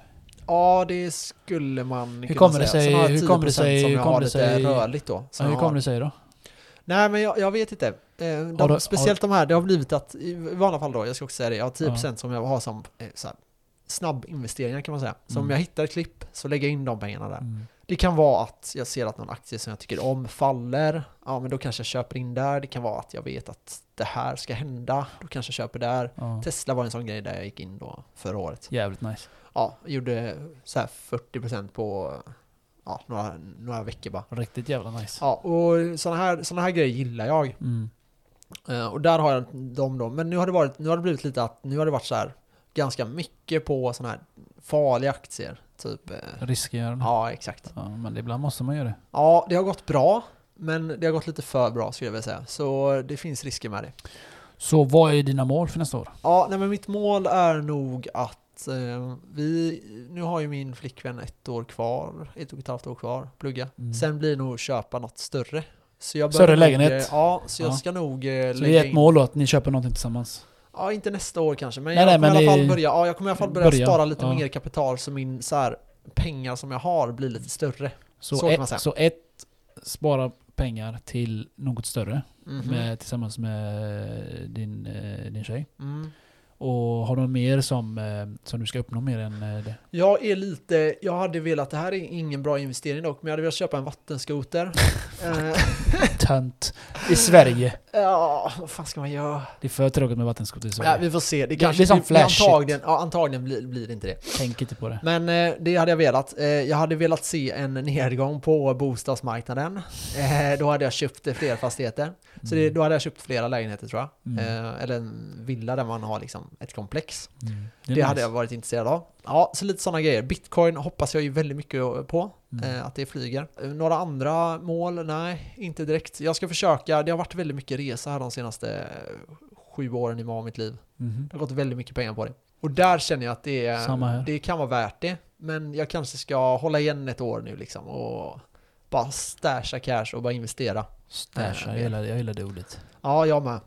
Speaker 1: Ja, det skulle man
Speaker 2: Hur
Speaker 1: kunna
Speaker 2: kommer det
Speaker 1: säga.
Speaker 2: sig-
Speaker 1: Sen har jag
Speaker 2: hur kommer det
Speaker 1: 10%
Speaker 2: sig-
Speaker 1: som
Speaker 2: hur
Speaker 1: jag
Speaker 2: kommer
Speaker 1: har
Speaker 2: det
Speaker 1: lite
Speaker 2: sig-
Speaker 1: rörligt då. som
Speaker 2: hur
Speaker 1: jag har-
Speaker 2: kommer det sig då?
Speaker 1: Nej, men jag, jag vet inte. Eh, De,
Speaker 2: Har du-
Speaker 1: speciellt de här, det har blivit att, i vanliga fall då, jag ska också säga det, jag har 10% som jag har som eh, så här, snabbinvesteringar kan man säga. Så om
Speaker 2: Mm.
Speaker 1: jag hittar ett klipp så lägger jag in de pengarna där.
Speaker 2: Mm.
Speaker 1: Det kan vara att jag ser att någon aktie som jag tycker om faller. Ja, men då kanske jag köper in där. Det kan vara att jag vet att det här ska hända. Då kanske jag köper där.
Speaker 2: Ja.
Speaker 1: Tesla var en sån grej där jag gick in då förra året.
Speaker 2: Jävligt nice.
Speaker 1: Ja, jag gjorde så här 40% på ja, några, några veckor bara.
Speaker 2: Riktigt jävla nice.
Speaker 1: Ja, och sådana här, såna här grejer gillar jag.
Speaker 2: Mm.
Speaker 1: Eh, och där har jag dem då. Men nu har det, varit, nu har det blivit lite att nu har det varit så här ganska mycket på sådana här farliga aktier. Typ, eh,
Speaker 2: Risker. Ja.
Speaker 1: ja exakt.
Speaker 2: ja, men ibland måste man göra det.
Speaker 1: Ja, det har gått bra. Men det har gått lite för bra skulle jag vilja säga. Så det finns risker med det.
Speaker 2: Så vad är dina mål för nästa år?
Speaker 1: Ja, nej men mitt mål är nog att eh, vi, nu har ju min flickvän ett år kvar, ett och ett halvt år kvar, plugga.
Speaker 2: Mm.
Speaker 1: Sen blir det nog köpa något större. Så jag
Speaker 2: Större
Speaker 1: börjar nog,
Speaker 2: lägenhet?
Speaker 1: eh, Ja, så jag
Speaker 2: Ja.
Speaker 1: ska nog eh,
Speaker 2: Så det
Speaker 1: lägga
Speaker 2: är ett
Speaker 1: in.
Speaker 2: mål då, att ni köper någonting tillsammans?
Speaker 1: Ja, inte nästa år kanske, men jag
Speaker 2: Nej, nej,
Speaker 1: kommer
Speaker 2: men
Speaker 1: i alla fall
Speaker 2: i-
Speaker 1: börja, ja, jag kommer i alla fall börja
Speaker 2: början,
Speaker 1: spara lite
Speaker 2: ja.
Speaker 1: mer kapital så min så här, pengar som jag har blir lite större.
Speaker 2: Så,
Speaker 1: Så kan man säga.
Speaker 2: ett, så ett, spara pengar till något större
Speaker 1: Mhm.
Speaker 2: med, tillsammans med din, eh, din tjej.
Speaker 1: Mm.
Speaker 2: Och har du något mer som, eh, som du ska uppnå mer än eh, det?
Speaker 1: Jag är lite, jag hade velat, det här är ingen bra investering dock, men jag hade velat köpa en
Speaker 2: *laughs*
Speaker 1: vattenskoter. Eh,
Speaker 2: Tönt i Sverige.
Speaker 1: ja, vad fan ska man göra?
Speaker 2: Det är för tråkigt med vattenskoter i
Speaker 1: Ja,
Speaker 2: Sverige.
Speaker 1: vi får se. Det
Speaker 2: Det-
Speaker 1: kanske
Speaker 2: det är som
Speaker 1: det-
Speaker 2: Flash
Speaker 1: antagligen, ja, antagligen blir, blir det inte det.
Speaker 2: Tänk inte på det.
Speaker 1: Men eh, det hade jag velat. Eh, jag hade velat se en nedgång på bostadsmarknaden. Eh, då hade jag köpt eh, fler fastigheter. Så det,
Speaker 2: Mm.
Speaker 1: då hade jag köpt flera lägenheter tror jag.
Speaker 2: Mm.
Speaker 1: Eh, eller en villa där man har liksom ett komplex.
Speaker 2: Mm.
Speaker 1: Det,
Speaker 2: är
Speaker 1: hade
Speaker 2: nice.
Speaker 1: jag varit intresserad av. Ja, så lite sådana grejer. Bitcoin hoppas jag ju väldigt mycket på.
Speaker 2: Mm.
Speaker 1: Eh, att det flyger. Eh, Några andra mål? Nej, inte direkt. Jag ska försöka. Det har varit väldigt mycket resa här de senaste eh, sju åren i av mitt liv.
Speaker 2: Mhm.
Speaker 1: Det har gått väldigt mycket pengar på det. Och där känner jag att det,
Speaker 2: Samma här.
Speaker 1: är, det kan vara värt det. Men jag kanske ska hålla igen ett år nu liksom och bara stasha cash och bara investera.
Speaker 2: Stasha, jag
Speaker 1: Eh,
Speaker 2: gillar, jag gillar det ordet.
Speaker 1: Ja, jag med.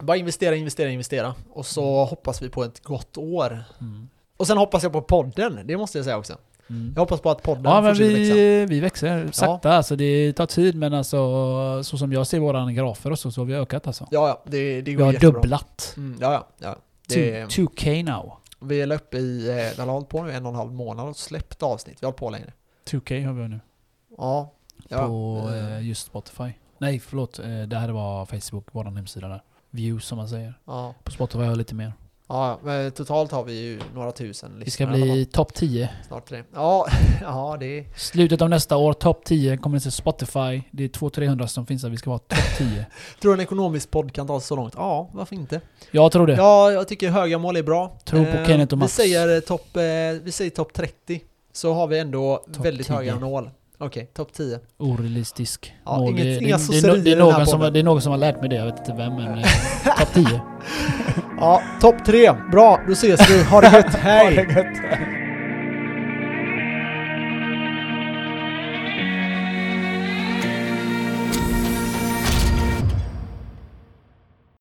Speaker 1: Bara investera, investera, investera. Och så hoppas vi på ett gott år.
Speaker 2: Mm.
Speaker 1: Och sen hoppas jag på podden, det måste jag säga också.
Speaker 2: Mm.
Speaker 1: Jag hoppas på att podden
Speaker 2: Ja men
Speaker 1: fortsätter växa.
Speaker 2: vi, vi växer sakta alltså. Det tar tid men alltså så som jag ser våra grafer och så, så har vi ökat alltså.
Speaker 1: Ja, ja, det, det
Speaker 2: Vi
Speaker 1: går
Speaker 2: har Typ,
Speaker 1: jättebra.
Speaker 2: dubblat.
Speaker 1: Mm, ja, ja. ja. Det,
Speaker 2: Two- 2K now.
Speaker 1: vi är uppe i, eh, vi har hållit på nu en och en halv månad och släppt avsnitt. Vi har hållit på längre.
Speaker 2: 2K har vi nu.
Speaker 1: Ja. ja.
Speaker 2: På
Speaker 1: eh,
Speaker 2: eh, just Spotify. Nej förlåt, eh, det här var Facebook, vår hemsida där. Views som man säger.
Speaker 1: ja.
Speaker 2: På Spotify har jag lite mer.
Speaker 1: Ja, men totalt har vi ju några tusen
Speaker 2: Vi ska
Speaker 1: lyssnare i alla
Speaker 2: bli topp 10.
Speaker 1: fall. snart tre. Ja, *laughs* ja det är...
Speaker 2: Slutet av nästa år, topp 10 kommer det till Spotify. Det är 200-300 som finns där, vi ska vara topp 10.
Speaker 1: Tror du en ekonomisk podd kan ta sig så långt? Ja, varför inte?
Speaker 2: Jag tror det.
Speaker 1: Ja, jag tycker höga mål är bra.
Speaker 2: Tro på Kenneth och
Speaker 1: vi
Speaker 2: Mats.
Speaker 1: säger topp, eh, vi säger topp 30. Så har vi ändå väldigt
Speaker 2: 10.
Speaker 1: höga mål. Okej, topp 10.
Speaker 2: Orealistisk.
Speaker 1: Ja,
Speaker 2: mål.
Speaker 1: inget-
Speaker 2: det,
Speaker 1: inga
Speaker 2: det, det, är no-
Speaker 1: sosserier
Speaker 2: det,
Speaker 1: i
Speaker 2: är
Speaker 1: den här
Speaker 2: någon som,
Speaker 1: podden.
Speaker 2: det är någon som har lärt mig det, jag vet inte vem men... eh, Topp 10. *laughs*
Speaker 1: Ja, topp 3. Bra, då ses vi. Ha det gött. Hej!
Speaker 2: gött.